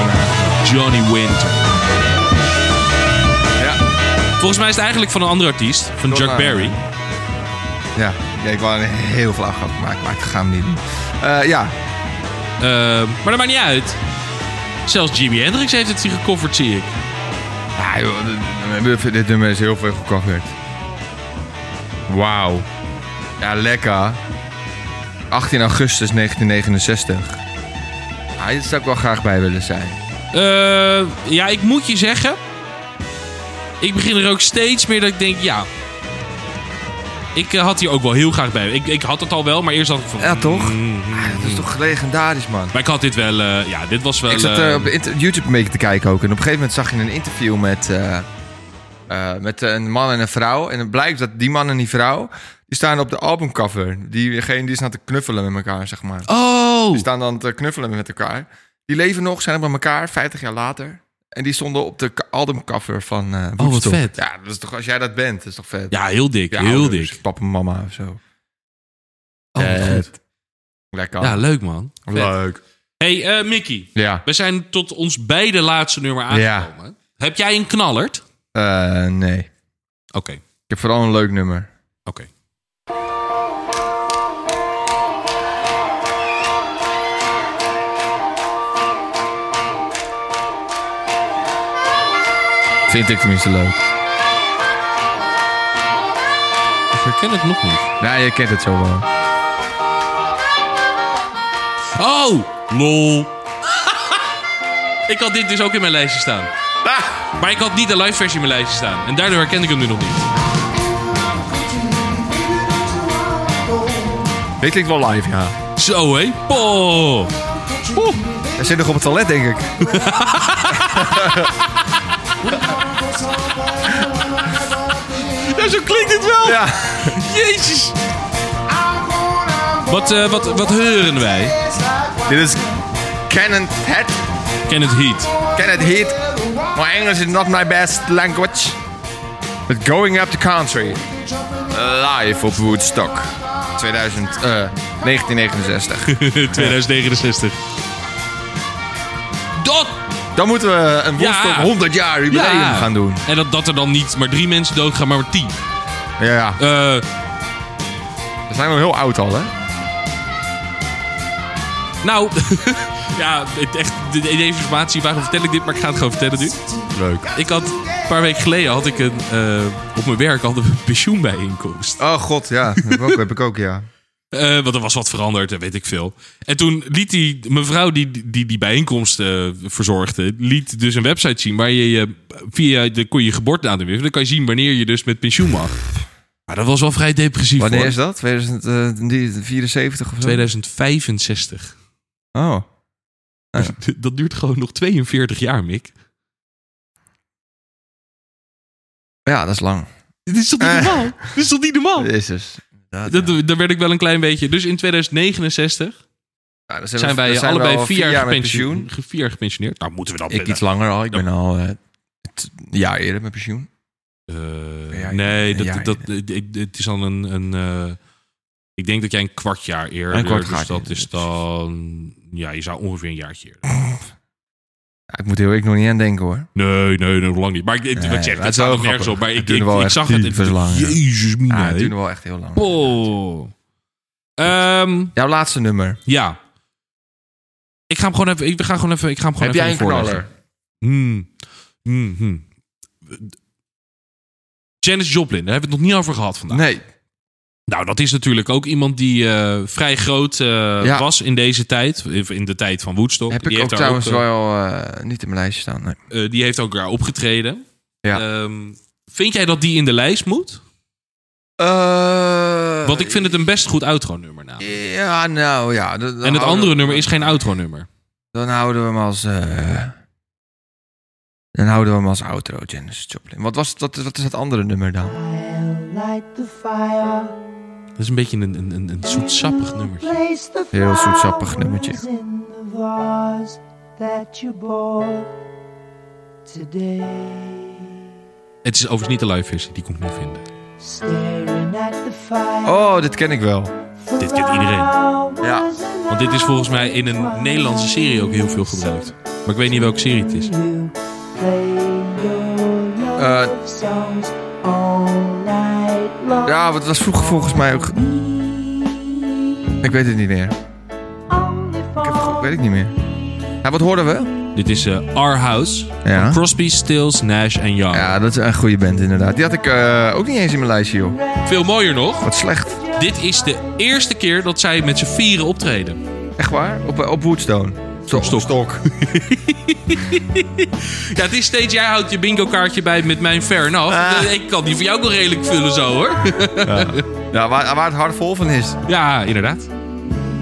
Speaker 1: Johnny Winter.
Speaker 2: Ja.
Speaker 1: Volgens mij is het eigenlijk van een andere artiest. Van
Speaker 2: Donna.
Speaker 1: Chuck Berry.
Speaker 2: Ja. ja, ik wou een heel flauw grap maken, maar ik ga hem niet doen. Eh, ja,
Speaker 1: Ehm, maar dat maakt niet uit. Zelfs Jimi Hendrix heeft het gecoverd, zie ik.
Speaker 2: Ja, joh, dit- dit- dit, dit nummer is heel veel gecoverd. Wauw. Ja, lekker. 18 augustus 1969. Ja, dit zou ik wel graag bij willen zijn.
Speaker 1: Eh, ja, ik moet je zeggen. Ik begin er ook steeds meer dat ik denk, ja. Ik eh, had hier ook wel heel graag bij. Ik, ik had het al wel, maar eerst had ik van...
Speaker 2: Ja, toch?
Speaker 1: Mm, mm.
Speaker 2: Ja, Mm-hmm. Ah, dat is toch legendarisch, man.
Speaker 1: Maar ik had dit wel... eh, ja, dit was wel...
Speaker 2: Ik zat
Speaker 1: eh,
Speaker 2: eh, op inter- YouTube een beetje te kijken ook. En op een gegeven moment zag je een interview met, eh, eh, met een man en een vrouw. En het blijkt dat die man en die vrouw... die staan op de albumcover. Diegene die staan te knuffelen met elkaar, zeg maar.
Speaker 1: Oh!
Speaker 2: Die staan dan te knuffelen met elkaar. Die leven nog, zijn bij elkaar, 50 jaar later. En die stonden op de k- albumcover van eh Woodstock.
Speaker 1: Oh, vet.
Speaker 2: Ja, dat is toch, als jij dat bent, dat is toch vet.
Speaker 1: Ja, heel dik.
Speaker 2: Je
Speaker 1: heel
Speaker 2: ouders,
Speaker 1: dik.
Speaker 2: Papa en mama of zo.
Speaker 1: Oh, wat
Speaker 2: Vet.
Speaker 1: goed.
Speaker 2: Lekker.
Speaker 1: Ja, leuk man. Vet.
Speaker 2: Leuk.
Speaker 1: Hey, eh, Mickey.
Speaker 2: Ja.
Speaker 1: We zijn tot ons beide laatste nummer aangekomen. Heb jij een knallert? Oké.
Speaker 2: Eh, nee. Ik heb vooral een leuk nummer.
Speaker 1: Oké.
Speaker 2: Vind ik tenminste leuk.
Speaker 1: Ik herken het nog niet.
Speaker 2: Ja, Nou, je kent het zo wel.
Speaker 1: Oh! Lol. ik had dit dus ook in mijn lijstje staan. Maar ik had niet de live versie in mijn lijstje staan. En daardoor herken ik hem nu nog niet.
Speaker 2: Dit klinkt wel live, ja.
Speaker 1: Zo hé. Po.
Speaker 2: Hij zit nog op het toilet, denk ik.
Speaker 1: Ja, zo klinkt het wel.
Speaker 2: Ja.
Speaker 1: Jezus. Wat, eh, wat, wat horen wij?
Speaker 2: Dit is Canon Head.
Speaker 1: Ken het heat.
Speaker 2: Canon Heat. My English is not my best language. But going up the country. Live op Woodstock. 2000, eh, 1969.
Speaker 1: 2069. Dat
Speaker 2: Dan moeten we een
Speaker 1: Ja.
Speaker 2: Woodstock 100 jaar jubileum gaan doen.
Speaker 1: En dat, dat er dan niet maar drie mensen doodgaan, maar maar tien.
Speaker 2: Ja, ja.
Speaker 1: Eh,
Speaker 2: We zijn wel heel oud al, hè?
Speaker 1: nou, ja, het echt, de- deze informatie, waarom vertel ik dit? Maar ik ga het gewoon vertellen nu.
Speaker 2: Leuk.
Speaker 1: Ik had, een paar weken geleden had ik een, eh, op mijn werk hadden we een pensioenbijeenkomst.
Speaker 2: Oh god, ja. Dat heb ik ook, heb ik ook ja.
Speaker 1: Eh, want er was wat veranderd en weet ik veel. En toen liet die mevrouw die die, die bijeenkomst eh, verzorgde, liet dus een website zien waar je je via de, kon je, je geboortedatum in. Dan kan je zien wanneer je dus met pensioen mag. Maar dat was wel vrij depressief.
Speaker 2: Wanneer
Speaker 1: hoor.
Speaker 2: is dat? 2074 eh, of zo?
Speaker 1: 2065.
Speaker 2: Oh. Ah,
Speaker 1: Dat duurt gewoon nog 42 jaar, Mick.
Speaker 2: Ja, dat is lang.
Speaker 1: Dit is toch niet
Speaker 2: Eh.
Speaker 1: normaal? Dit is toch niet normaal?
Speaker 2: Jezus.
Speaker 1: Dat, daar werd ik wel een klein beetje. Dus in 2069
Speaker 2: Ja, dan
Speaker 1: zijn
Speaker 2: we-
Speaker 1: wij
Speaker 2: dan zijn we
Speaker 1: allebei
Speaker 2: al
Speaker 1: vier jaar,
Speaker 2: met
Speaker 1: gepensioen- ge- vier jaar gepensioneerd. Nou, moeten we dan
Speaker 2: Ik iets langer al. Ik
Speaker 1: Ja.
Speaker 2: ben al eh, t- een jaar eerder met pensioen.
Speaker 1: Eh,
Speaker 2: Ja,
Speaker 1: nee,
Speaker 2: ja,
Speaker 1: dat,
Speaker 2: ja, ja.
Speaker 1: dat, het- het is dan een... een eh, ik denk dat jij een kwart jaar eerder...
Speaker 2: Een kwart
Speaker 1: dus
Speaker 2: jaar
Speaker 1: dat
Speaker 2: eerder,
Speaker 1: is dan... Ja, je zou ongeveer een jaartje eerder.
Speaker 2: Ja, ik moet heel ik nog niet aan denken hoor.
Speaker 1: Nee, nee, nog lang niet. Maar ik,
Speaker 2: Nee,
Speaker 1: wat ik
Speaker 2: maar
Speaker 1: zeg,
Speaker 2: het
Speaker 1: het
Speaker 2: is wel
Speaker 1: staat nog nergens
Speaker 2: grappig.
Speaker 1: op. Maar
Speaker 2: Het
Speaker 1: ik, ik,
Speaker 2: duurde wel
Speaker 1: ik
Speaker 2: echt
Speaker 1: zag het en ik
Speaker 2: tyfus
Speaker 1: dacht,
Speaker 2: lang, ja.
Speaker 1: Jezus, mina.
Speaker 2: Ja,
Speaker 1: hè.
Speaker 2: Ah, het duurde wel echt heel lang.
Speaker 1: Oh. Ehm,
Speaker 2: Jouw laatste nummer.
Speaker 1: ja. Ik ga hem gewoon even... Ik, we gaan gewoon even ik ga hem gewoon
Speaker 2: Heb
Speaker 1: even
Speaker 2: jij een
Speaker 1: voorleggen.
Speaker 2: knaller?
Speaker 1: Hmm. Hmm, hmm. Janis Joplin, daar hebben we het nog niet over gehad vandaag.
Speaker 2: Nee.
Speaker 1: Nou, dat is natuurlijk ook iemand die eh, vrij groot eh,
Speaker 2: Ja.
Speaker 1: was in deze tijd. In de tijd van Woodstock.
Speaker 2: Heb
Speaker 1: die
Speaker 2: ik ook
Speaker 1: daar
Speaker 2: trouwens
Speaker 1: eh,
Speaker 2: wel eh, niet in mijn lijstje staan. Nee.
Speaker 1: eh, die heeft ook daar opgetreden.
Speaker 2: Ja.
Speaker 1: Ehm, vind jij dat die in de lijst moet?
Speaker 2: Eh,
Speaker 1: Want ik vind het een best goed outro-nummer. namelijk.
Speaker 2: Ja, nou ja. dan- dan
Speaker 1: En het
Speaker 2: houden
Speaker 1: andere
Speaker 2: we-
Speaker 1: nummer is geen outro-nummer.
Speaker 2: Dan houden we hem als... eh, dan houden we hem als outro, Janis Joplin. Wat, was, dat, wat is het andere nummer dan?
Speaker 6: Light the fire,
Speaker 1: Dat is een beetje een, een, een, een zoetsappig nummertje.
Speaker 6: place the
Speaker 2: Heel zoetsappig
Speaker 6: flowers
Speaker 2: nummertje.
Speaker 6: in the vase that you bought today.
Speaker 1: Het is overigens niet de live versie, die kon ik niet vinden.
Speaker 6: Staring at the fire.
Speaker 2: Oh, dit ken ik wel.
Speaker 1: Dit kent iedereen.
Speaker 2: Ja.
Speaker 1: Want dit is volgens mij in een Nederlandse serie ook heel veel gebruikt. Maar ik weet niet welke serie het is.
Speaker 6: You play your
Speaker 2: Eh.
Speaker 6: love songs all night long.
Speaker 2: Ja, want het was vroeger volgens mij ook... Ik weet het niet meer.
Speaker 6: Only
Speaker 2: Ik heb het
Speaker 6: for
Speaker 2: ge- weet ik niet meer. Ja, wat hoorden we?
Speaker 1: Dit is eh, Our House.
Speaker 2: Ja.
Speaker 1: van Crosby, Stills, Nash en Young.
Speaker 2: Ja, dat is een goede band inderdaad. Die had ik eh, ook niet eens in mijn lijstje, joh.
Speaker 1: Veel mooier nog.
Speaker 2: Wat slecht.
Speaker 1: Dit is de eerste keer dat zij met z'n vieren optreden.
Speaker 2: Echt waar? Op, op Woodstone. Stok.
Speaker 1: Stok. Ja, het is steeds, jij houdt je bingo kaartje bij met mijn fair enough.
Speaker 2: Ah.
Speaker 1: Ik kan die voor jou ook wel redelijk vullen zo hoor.
Speaker 2: Ja, waar, waar het hard vol van is.
Speaker 1: Ja, inderdaad.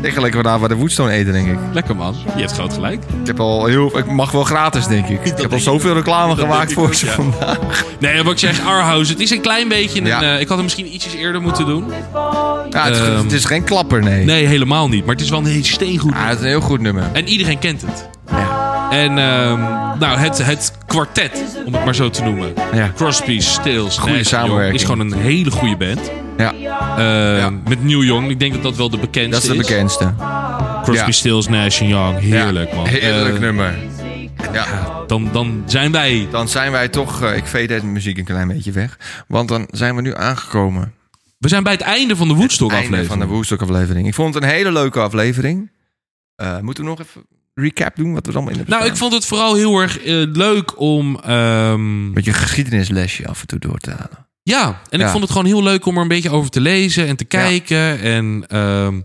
Speaker 2: Ik ga lekker vanavond bij de Woodstone eten, denk ik.
Speaker 1: Lekker man. Je hebt groot gelijk.
Speaker 2: Ik, heb al heel, ik mag wel gratis, denk ik. ik heb al
Speaker 1: denk
Speaker 2: zoveel reclame gemaakt
Speaker 1: ik
Speaker 2: voor
Speaker 1: ook,
Speaker 2: ze
Speaker 1: ja.
Speaker 2: vandaag.
Speaker 1: Nee, wat ik zeg, Our House. Het is een klein beetje een...
Speaker 2: Ja.
Speaker 1: eh, ik had hem misschien ietsjes eerder moeten doen.
Speaker 2: Ja, het, is,
Speaker 1: Ehm.
Speaker 2: het is geen klapper, nee.
Speaker 1: Nee, helemaal niet. Maar het is wel een heel steengoed.
Speaker 2: Ja, het is een heel goed nummer.
Speaker 1: En iedereen kent het. En ehm, nou, het, het kwartet, om het maar zo te noemen.
Speaker 2: Ja.
Speaker 1: Crosby, Stills,
Speaker 2: Goede
Speaker 1: Nash,
Speaker 2: samenwerking.
Speaker 1: Young Is gewoon een hele goede band.
Speaker 2: Ja,
Speaker 1: Ehm,
Speaker 2: Ja.
Speaker 1: Met Neil Young. Ik denk dat dat wel de bekendste
Speaker 2: dat is de bekendste.
Speaker 1: Crosby,
Speaker 2: Ja.
Speaker 1: Stills, Nash en Young. Heerlijk,
Speaker 2: Ja,
Speaker 1: man.
Speaker 2: Heerlijk
Speaker 1: Eh,
Speaker 2: nummer. Ja,
Speaker 1: dan, dan zijn wij...
Speaker 2: dan zijn wij toch... eh, ik veed deze muziek een klein beetje weg. Want dan zijn we nu aangekomen.
Speaker 1: We zijn bij het einde van de
Speaker 2: Einde
Speaker 1: Woodstock-aflevering.
Speaker 2: van de Woodstock aflevering. Ik vond het een hele leuke aflevering. Eh, moeten we nog even recap doen wat we allemaal in hebben
Speaker 1: nou, ik
Speaker 2: staan?
Speaker 1: vond het vooral heel erg eh, leuk om... ehm,
Speaker 2: Beetje een geschiedenislesje af en toe door te halen.
Speaker 1: Ja, en ik
Speaker 2: Ja.
Speaker 1: vond het gewoon heel leuk om er een beetje over te lezen en te kijken. En ehm,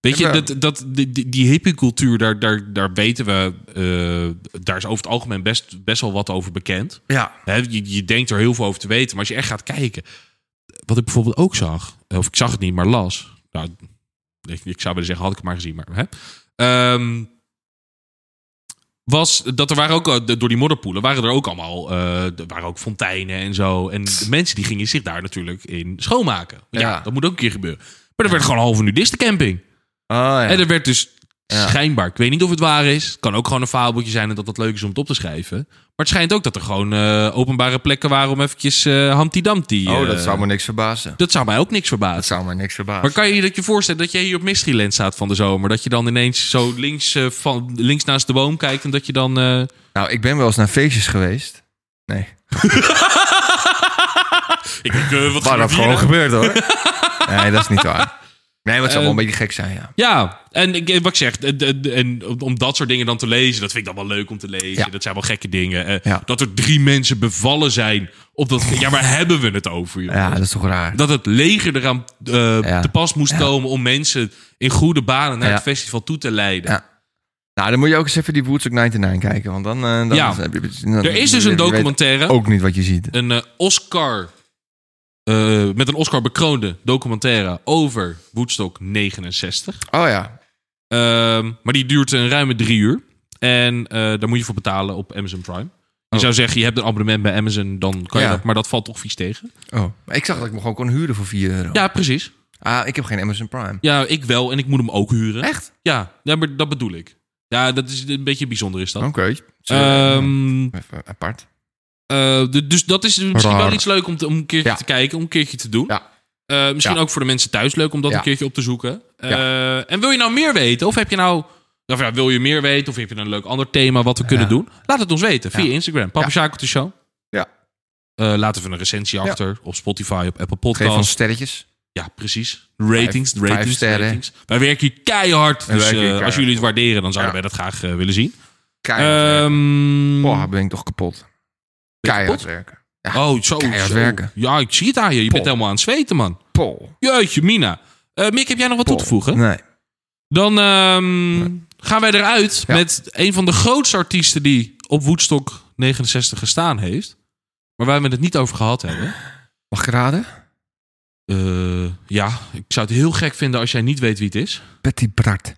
Speaker 1: weet je,
Speaker 2: Ja, maar-
Speaker 1: dat, dat, die, die- die hippiecultuur, daar, daar, daar weten we, eh, daar is over het algemeen best, best wel wat over bekend.
Speaker 2: Ja.
Speaker 1: Hè, je, je denkt er heel veel over te weten, maar als je echt gaat kijken. Wat ik bijvoorbeeld ook zag, of ik zag het niet, maar las. Nou, ik, ik zou willen zeggen, had ik het maar gezien, maar. Hè, Ehm, was dat er waren ook eh, door die modderpoelen waren er ook allemaal eh, er waren ook fonteinen en zo en de mensen die gingen zich daar natuurlijk in schoonmaken ja,
Speaker 2: Ja.
Speaker 1: dat moet ook een keer gebeuren maar er werd gewoon een halve nudiste camping
Speaker 2: Oh, ja.
Speaker 1: en er werd dus
Speaker 2: Ja.
Speaker 1: Schijnbaar. Ik weet niet of het waar is. Het kan ook gewoon een fabeltje zijn en dat dat leuk is om het op te schrijven. Maar het schijnt ook dat er gewoon eh, openbare plekken waren om eventjes eh Humpty Dumpty...
Speaker 2: Oh,
Speaker 1: eh,
Speaker 2: dat zou me niks verbazen.
Speaker 1: dat zou mij ook niks
Speaker 2: Dat
Speaker 1: verbazen.
Speaker 2: zou me niks verbazen.
Speaker 1: Maar kan je je dat je voorstellen dat je hier op Mysteryland staat van de zomer? Dat je dan ineens zo links, eh, van, links naast de boom kijkt en dat je dan... eh,
Speaker 2: Nou, ik ben wel eens naar feestjes geweest. Nee.
Speaker 1: ik denk, eh, wat
Speaker 2: Waar
Speaker 1: gebeurt
Speaker 2: dat
Speaker 1: hier
Speaker 2: gewoon
Speaker 1: nou?
Speaker 2: gebeurt hoor. nee, dat is niet waar. Nee, maar het zou wel
Speaker 1: Eh,
Speaker 2: een beetje gek zijn, ja.
Speaker 1: Ja, en ik, wat ik zeg, d- d- d- en om- om dat soort dingen dan te lezen, dat vind ik dan wel leuk om te lezen.
Speaker 2: Ja.
Speaker 1: Dat zijn wel gekke dingen. Eh,
Speaker 2: Ja.
Speaker 1: Dat er drie mensen bevallen zijn op dat. Ja, waar hebben we het over? joh?
Speaker 2: Ja, dat is toch raar.
Speaker 1: Dat het leger eraan eh,
Speaker 2: Ja.
Speaker 1: te pas moest komen om mensen in goede banen naar
Speaker 2: Ja.
Speaker 1: het festival toe te leiden.
Speaker 2: Ja. Nou, dan moet je ook eens even die Woodstock 99 kijken. Want dan... eh, dan
Speaker 1: Ja.
Speaker 2: is- heb je- dan-
Speaker 1: Er is dus
Speaker 2: je
Speaker 1: een
Speaker 2: weet
Speaker 1: documentaire,
Speaker 2: Ook niet wat je ziet.
Speaker 1: een eh, Oscar, eh, met een Oscar bekroonde documentaire over Woodstock 69.
Speaker 2: Oh ja.
Speaker 1: Ehm, maar die duurt een ruime drie uur. En eh, daar moet je voor betalen op Amazon Prime. Je
Speaker 2: Oh.
Speaker 1: zou zeggen, je hebt een abonnement bij Amazon, dan kan
Speaker 2: Ja.
Speaker 1: je dat. Maar dat valt toch vies tegen.
Speaker 2: Oh. Maar ik zag dat ik me gewoon kon huren voor 4 euro.
Speaker 1: Ja, precies.
Speaker 2: Ah, ik heb geen Amazon Prime.
Speaker 1: Ja, ik wel. En ik moet hem ook huren.
Speaker 2: Echt?
Speaker 1: Ja, ja maar dat bedoel ik. Ja, dat is een beetje bijzonder is dat.
Speaker 2: Oké.
Speaker 1: Ehm,
Speaker 2: Even apart.
Speaker 1: eh, d- dus dat is misschien
Speaker 2: Raar.
Speaker 1: wel iets leuk om, te, om een keertje
Speaker 2: Ja.
Speaker 1: te kijken, om een keertje te doen.
Speaker 2: Ja.
Speaker 1: Eh, misschien
Speaker 2: Ja.
Speaker 1: ook voor de mensen thuis leuk om dat
Speaker 2: Ja.
Speaker 1: een keertje op te zoeken. Eh,
Speaker 2: Ja.
Speaker 1: En wil je nou meer weten? Of heb je nou. Of ja, wil je meer weten? Of heb je een leuk ander thema wat we kunnen doen? Laat het ons weten via
Speaker 2: Ja.
Speaker 1: Instagram. Papa
Speaker 2: Ja.
Speaker 1: Sjakel de Show.
Speaker 2: Ja.
Speaker 1: Eh, laat even een recensie
Speaker 2: Ja.
Speaker 1: achter. Op Spotify, op Apple
Speaker 2: Geef ons
Speaker 1: Podcasts.
Speaker 2: sterretjes.
Speaker 1: Ja, precies. Ratings,
Speaker 2: vijf
Speaker 1: ratings,
Speaker 2: sterren.
Speaker 1: ratings. Wij werken hier keihard.
Speaker 2: Wij
Speaker 1: Dus
Speaker 2: werken
Speaker 1: eh,
Speaker 2: hier
Speaker 1: als jullie het waarderen, dan zouden
Speaker 2: Ja.
Speaker 1: wij dat graag eh, willen zien.
Speaker 2: Keihard
Speaker 1: Ehm,
Speaker 2: werken. Oh, ben ik toch kapot. Keihard
Speaker 1: kapot?
Speaker 2: werken.
Speaker 1: oh, zo.
Speaker 2: keihard
Speaker 1: zo.
Speaker 2: werken.
Speaker 1: Ja, ik zie het aan je. Je bent
Speaker 2: Pop.
Speaker 1: helemaal aan het zweten, man.
Speaker 2: Pol.
Speaker 1: Jeetje, Mina. Eh, Mick, heb jij nog wat toe te voegen?
Speaker 2: Nee.
Speaker 1: Dan ehm, gaan wij eruit
Speaker 2: Ja.
Speaker 1: met een van de grootste artiesten die op Woodstock 69 gestaan heeft. Maar waar we het niet over gehad hebben.
Speaker 2: Mag ik raden?
Speaker 1: Eh, ja, ik zou het heel gek vinden als jij niet weet wie het is.
Speaker 2: Betty Bart.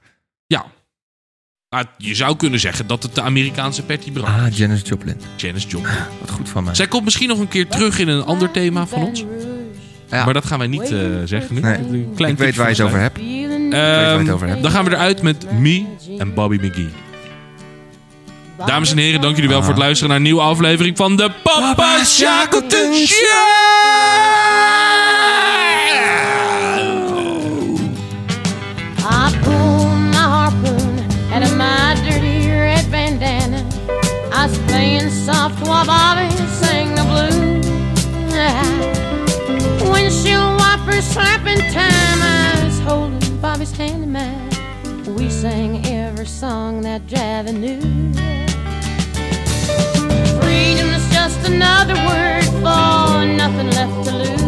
Speaker 1: Ja. Maar je zou kunnen zeggen dat het de Amerikaanse Patty Brand
Speaker 2: Ah, Janis Joplin.
Speaker 1: Janis Joplin.
Speaker 2: Wat goed van mij.
Speaker 1: Zij komt misschien nog een keer terug in een ander thema van ons.
Speaker 2: Ja.
Speaker 1: Maar dat gaan wij niet eh, zeggen nu.
Speaker 2: Nee.
Speaker 1: Een
Speaker 2: ik weet
Speaker 1: tipje
Speaker 2: waar je het
Speaker 1: van
Speaker 2: over hebt.
Speaker 1: Ehm,
Speaker 2: weet waar je het over hebt.
Speaker 1: Dan gaan we eruit met Me en Bobby McGee. Dames en heren, dank jullie wel voor het luisteren naar een nieuwe aflevering van de Papa Shackleton Show!
Speaker 7: I pull my harpoon out of my dirty red bandana. I stand soft while Bobby sang the blues. Windshield wiper slapping time. I was holding Bobby's hand in mine. We sang every song that Javi knew. Freedom is just another word for nothing left to lose.